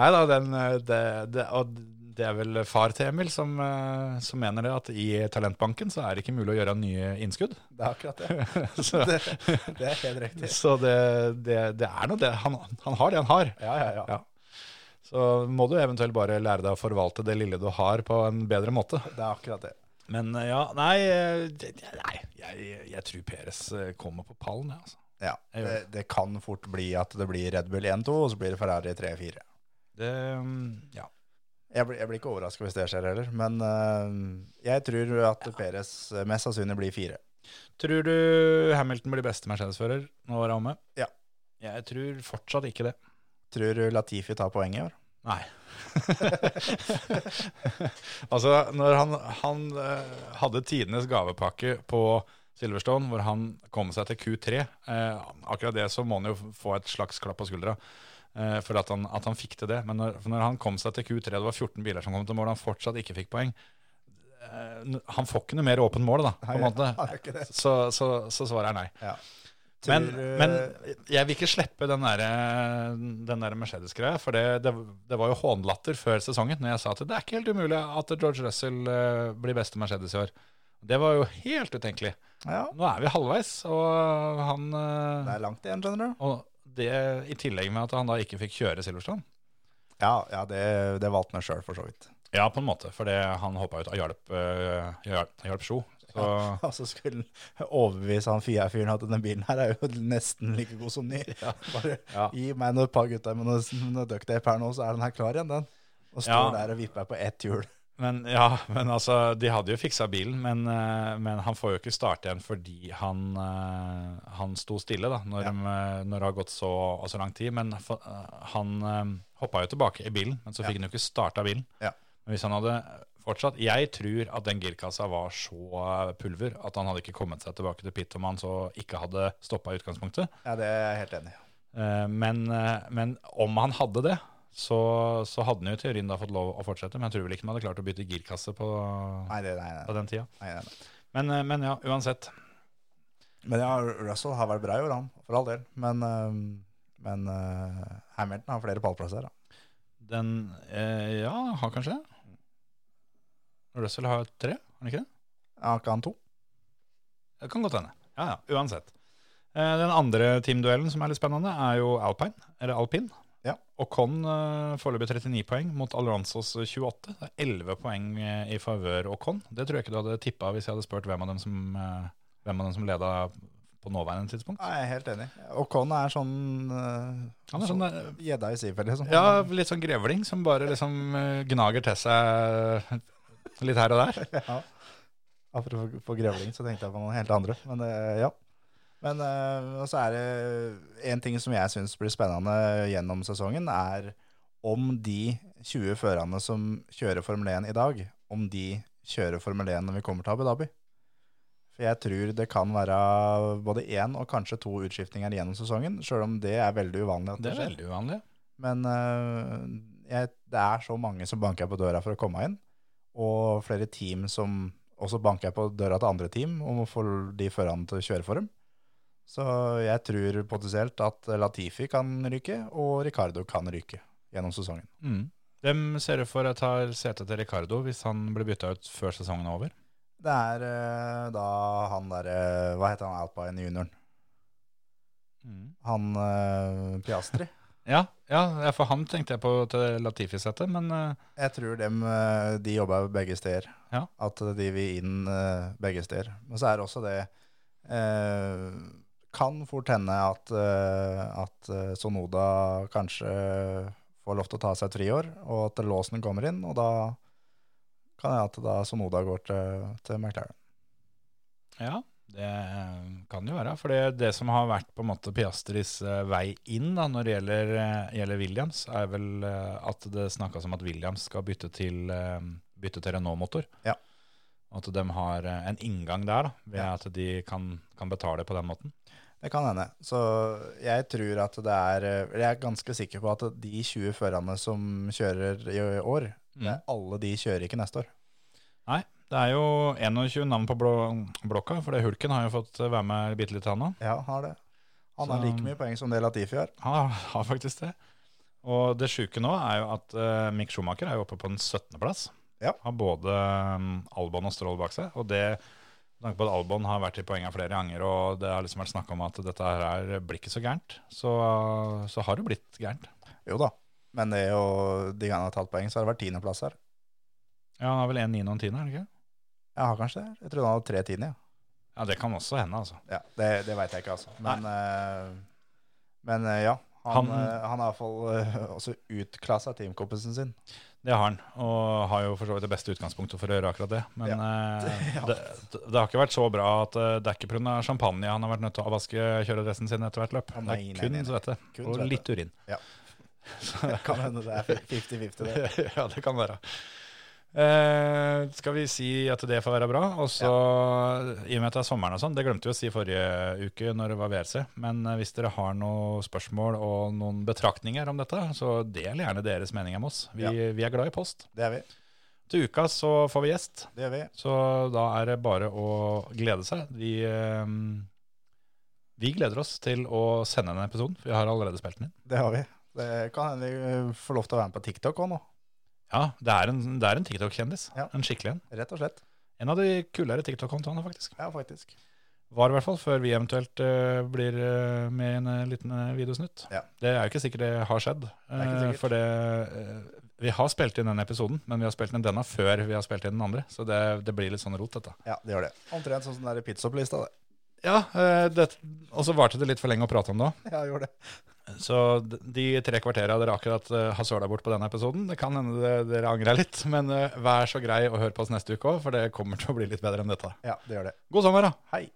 [SPEAKER 4] Nei da, den, eh, det, det, og det er vel far til Emil som, eh, som mener det, at i Talentbanken så er det ikke mulig å gjøre nye
[SPEAKER 5] *laughs*
[SPEAKER 4] innskudd. *laughs*
[SPEAKER 5] Det er akkurat det.
[SPEAKER 4] Så,
[SPEAKER 5] Det, det er helt
[SPEAKER 4] *laughs*
[SPEAKER 5] riktig.
[SPEAKER 4] så det, det, det er nå det. Han, han har det han har.
[SPEAKER 5] Ja, ja, ja.
[SPEAKER 4] Ja. Så må du eventuelt bare lære deg å forvalte det lille du har på en bedre måte.
[SPEAKER 5] Det er akkurat det.
[SPEAKER 4] Men eh, ja, nei, eh, det- det- nei jeg, jeg tror Peres eh, kommer på pallen, jeg, altså.
[SPEAKER 5] Ja, det, det kan fort bli at det blir Red Bull 1-2, og så blir det Ferrari 3-4.
[SPEAKER 4] Det, mm, ja.
[SPEAKER 5] Jeg, blir- jeg blir ikke overraska hvis det skjer heller, men eh, jeg tror at Perez eh, mest sannsynlig blir fire.
[SPEAKER 4] Tror du Hamilton blir beste Mercedes-fører når året er omme?
[SPEAKER 5] Ja.
[SPEAKER 4] Jeg tror fortsatt ikke det.
[SPEAKER 5] Tror du Latifi tar poeng i år?
[SPEAKER 4] Nei. *laughs* altså, når han, han eh, hadde tidenes gavepakke på Silverstone, hvor han kom seg til Q3, eh, akkurat det så må han jo få et slags klapp på skuldra. eh, for at han, at han fikk til det. Men når, for når han kom seg til Q3, det var 14 biler som kom til mål, han fortsatt ikke fikk poeng. eh, n- han får ikke noe mer åpent mål, da, på en
[SPEAKER 5] Nei,
[SPEAKER 4] måte.
[SPEAKER 5] han gjør ikke det.
[SPEAKER 4] Så, så, så svaret er nei.
[SPEAKER 5] Ja.
[SPEAKER 4] Men,
[SPEAKER 5] Tror,
[SPEAKER 4] men
[SPEAKER 5] eh,
[SPEAKER 4] jeg vil ikke slippe den der, eh, den der Mercedes-greia, for det, det, det var jo hånlatter før sesongen når jeg sa at det er ikke helt umulig at George Russell eh, blir beste Mercedes i år. Det var jo helt utenkelig.
[SPEAKER 5] Ja,
[SPEAKER 4] Nå er vi halvveis, og han
[SPEAKER 5] det
[SPEAKER 4] eh,
[SPEAKER 5] er langt igjen, skjønner du.
[SPEAKER 4] Og det i tillegg med at han da ikke fikk kjøre Silverstone.
[SPEAKER 5] Ja, ja det, det valgte han sjøl, for så vidt.
[SPEAKER 4] Ja, på en måte, fordi han hoppa ut og hjalp, eh, hjalp, hjalp Sjo. Så
[SPEAKER 5] *laughs* Og så Altså, skulle han overbevise han Fia-fyren at denne bilen her er jo nesten like god som ny. *laughs* Bare
[SPEAKER 4] Ja.
[SPEAKER 5] gi meg noen par gutter med noe, noe ducktape her nå, så er den her klar igjen, den. Og står
[SPEAKER 4] Ja.
[SPEAKER 5] der og vipper på ett hjul. *laughs*
[SPEAKER 4] Men, ja, men altså, de hadde jo fiksa bilen, men, eh, men han får jo ikke starte igjen fordi han, eh, han sto stille da, når, de, eh, når det har gått så, og så lang tid. Men fa- eh, han eh, hoppa jo tilbake i bilen, men så fikk han jo ikke starta bilen.
[SPEAKER 5] Ja.
[SPEAKER 4] Men hvis han hadde eh, fortsatt Jeg tror at den girkassa var så eh, pulver at han hadde ikke kommet seg tilbake til pit om han så ikke hadde stoppa i utgangspunktet.
[SPEAKER 5] Ja, det er jeg helt enig i.
[SPEAKER 4] Eh, Men, eh, men om han hadde det, så, så hadde han jo i teorien da fått lov å fortsette. Men jeg tror vel ikke han hadde klart å bytte girkasse på,
[SPEAKER 5] Nei, det, nei, nei,
[SPEAKER 4] på den tida.
[SPEAKER 5] nei, nei, nei.
[SPEAKER 4] Men, eh, men ja, uansett.
[SPEAKER 5] Men ja, Russell har vært bra i år, han, for all del. Men, eh, øhm, men øh, Hamilton har flere pallplasser. Da.
[SPEAKER 4] Den eh, Ja, har kanskje det.
[SPEAKER 5] Mm.
[SPEAKER 4] Russell har tre, har han ikke det?
[SPEAKER 5] Har ikke han to?
[SPEAKER 4] Det kan godt hende. Ja, ja, uansett. Eh, Den andre teamduellen som er litt spennende, er jo Alpine, eller Alpin.
[SPEAKER 5] Ja.
[SPEAKER 4] Og Con eh, foreløpig 39 poeng mot Alonsos 28. Det er 11 poeng eh, i favør Ocon. Det tror jeg ikke du hadde tippa hvis jeg hadde spurt hvem av dem som, eh, hvem av dem som leda på nåværende tidspunkt.
[SPEAKER 5] Nei, jeg er helt enig. Ocon er sånn øh,
[SPEAKER 4] Han er sånn der,
[SPEAKER 5] gjedda i sivet, liksom.
[SPEAKER 4] ja, litt sånn grevling som bare liksom eh, gnager til seg eh, litt her og der.
[SPEAKER 5] Ja. Apropos på grevling, så tenkte jeg på noen helt andre. Men eh, ja. Men eh, og så er det en ting som jeg syns blir spennende gjennom sesongen, er om de 20 førerne som kjører Formel 1 i dag, om de kjører Formel 1 når vi kommer til Abu Dhabi. For jeg tror det kan være både én og kanskje to utskiftinger gjennom sesongen, sjøl om det er veldig uvanlig at
[SPEAKER 4] Det
[SPEAKER 5] det
[SPEAKER 4] er
[SPEAKER 5] skjer.
[SPEAKER 4] veldig uvanlig.
[SPEAKER 5] Men øh, jeg, det er så mange som banker på døra for å komme inn, og flere team som også banker på døra til andre team om å få de førerne til å kjøre for dem. Så jeg tror potensielt at Latifi kan ryke, og Ricardo kan ryke gjennom sesongen.
[SPEAKER 4] Mm. Dem ser ut for å ta setet til Ricardo hvis han blir bytta ut før sesongen er over.
[SPEAKER 5] Det er øh, da han derre Hva heter han Alpine junioren? Han øh, Piastri.
[SPEAKER 4] Mm. Ja, ja, ja, for han tenkte jeg på til Latifi-settet, men eh,
[SPEAKER 5] Jeg tror dem, eh, de jobber begge steder.
[SPEAKER 4] Ja.
[SPEAKER 5] At de vil inn eh, begge steder. Men så er det også det eh, Kan fort hende at, eh, at eh, Sonoda kanskje får lov til å ta seg et friår, og at låsen kommer inn, og da kan jeg at da Sonoda går til, til McLaren.
[SPEAKER 4] ja, det eh, kan jo være. For det, det som har vært på en måte Piastris eh, vei inn da, når det gjelder, eh, gjelder Williams, er vel eh, at det snakkes om at Williams skal bytte til, eh, bytte til Renault-motor.
[SPEAKER 5] Ja.
[SPEAKER 4] At de har eh, en inngang der, da, ved
[SPEAKER 5] Ja.
[SPEAKER 4] at de kan, kan betale på den måten.
[SPEAKER 5] Det kan hende. Så jeg tror at det er eh, Jeg er ganske sikker på at de 20 førerne som kjører i år,
[SPEAKER 4] Mm.
[SPEAKER 5] det er alle de kjører ikke neste år.
[SPEAKER 4] Det er jo 21 navn på blå, blokka, for det Hulken har jo fått eh, være med bitte litt, han òg.
[SPEAKER 5] Ja, han har det. Han har
[SPEAKER 4] Så-
[SPEAKER 5] like mye poeng som det Latifi har.
[SPEAKER 4] Han har, *laughs* har faktisk det. Og det sjuke nå er jo at eh, Mick Schumacher er jo oppe på den 17. plass.
[SPEAKER 5] Ja.
[SPEAKER 4] Har både mm, Albon og Stroll bak seg. Og det, med tanke på at Albon har vært i poenga flere ganger, og det har liksom vært snakk om at dette her er- eh, blir ikke så gærent, så, så har det blitt gærent.
[SPEAKER 5] Jo da, men det er jo, de gangene han har tatt poeng, så har det vært tiendeplass her.
[SPEAKER 4] Ja, han har vel en niende og en tiende, er det ikke?
[SPEAKER 5] Jeg har kanskje det. Jeg trodde han hadde tre tiende. Ja.
[SPEAKER 4] Ja, det kan også hende, altså.
[SPEAKER 5] Ja, det det veit jeg ikke, altså. Men, eh, men eh, ja. Han,
[SPEAKER 4] Han-
[SPEAKER 5] eh, han har iallfall uh, også utklassa teamkompisen sin.
[SPEAKER 4] Det har han, og har jo for så vidt det beste utgangspunktet for å gjøre akkurat det. Men eh,
[SPEAKER 5] *laughs* Ja.
[SPEAKER 4] det, det har ikke vært så bra at eh, det er ikke pga. champagne han har vært nødt til å avvaske kjøredressen sin etter hvert løp.
[SPEAKER 5] Å,
[SPEAKER 4] det
[SPEAKER 5] nei,
[SPEAKER 4] er
[SPEAKER 5] nei,
[SPEAKER 4] kun
[SPEAKER 5] nei, nei.
[SPEAKER 4] svette
[SPEAKER 5] Kun
[SPEAKER 4] og
[SPEAKER 5] svette.
[SPEAKER 4] litt urin.
[SPEAKER 5] Ja.
[SPEAKER 4] *laughs* Så,
[SPEAKER 5] Kan hende *laughs* det er 50-50, det.
[SPEAKER 4] *laughs* ja, det kan være. Eh, skal vi si at det får være bra? Og så, i og med at det er sommeren og sånn, det glemte vi å si forrige uke når det var VRC, men eh, hvis dere har noen spørsmål og noen betraktninger om dette, så del gjerne deres meninger med oss. Vi, vi er glad i post.
[SPEAKER 5] Det er vi.
[SPEAKER 4] Til uka så får vi gjest,
[SPEAKER 5] Det er vi.
[SPEAKER 4] så da er det bare å glede seg. Vi, eh, vi gleder oss til å sende den episoden, for vi har allerede spilt den inn.
[SPEAKER 5] Det har vi. Det kan hende vi eh, får lov til å være med på TikTok òg nå,
[SPEAKER 4] Ja, det er en, det er en TikTok-kjendis.
[SPEAKER 5] Ja.
[SPEAKER 4] En skikkelig en.
[SPEAKER 5] rett og slett.
[SPEAKER 4] En av de kulere TikTok-kontoene, faktisk.
[SPEAKER 5] Ja, faktisk.
[SPEAKER 4] Var i hvert fall, før vi eventuelt eh, blir eh, med i en eh, liten eh, videosnutt.
[SPEAKER 5] Ja.
[SPEAKER 4] Det er jo ikke sikkert det har skjedd.
[SPEAKER 5] er ikke
[SPEAKER 4] eh,
[SPEAKER 5] sikkert.
[SPEAKER 4] for det, eh, vi har spilt inn denne episoden, men vi har spilt inn denne før vi har spilt inn den andre. Så det, det blir litt sånn rot, dette.
[SPEAKER 5] Ja, det gjør det. Omtrent sånn som den der pizzaopplista, det. *laughs*
[SPEAKER 4] Ja, eh, det, og så varte det litt for lenge å prate om det òg.
[SPEAKER 5] Ja, gjorde det.
[SPEAKER 4] Så d- de tre kvartera dere akkurat eh, har søla bort på denne episoden, det kan hende det- dere angrer litt, men eh, vær så grei å høre på oss neste uke òg, for det kommer til å bli litt bedre enn dette.
[SPEAKER 5] Ja, det gjør det.
[SPEAKER 4] God sommer, da!
[SPEAKER 5] Hei.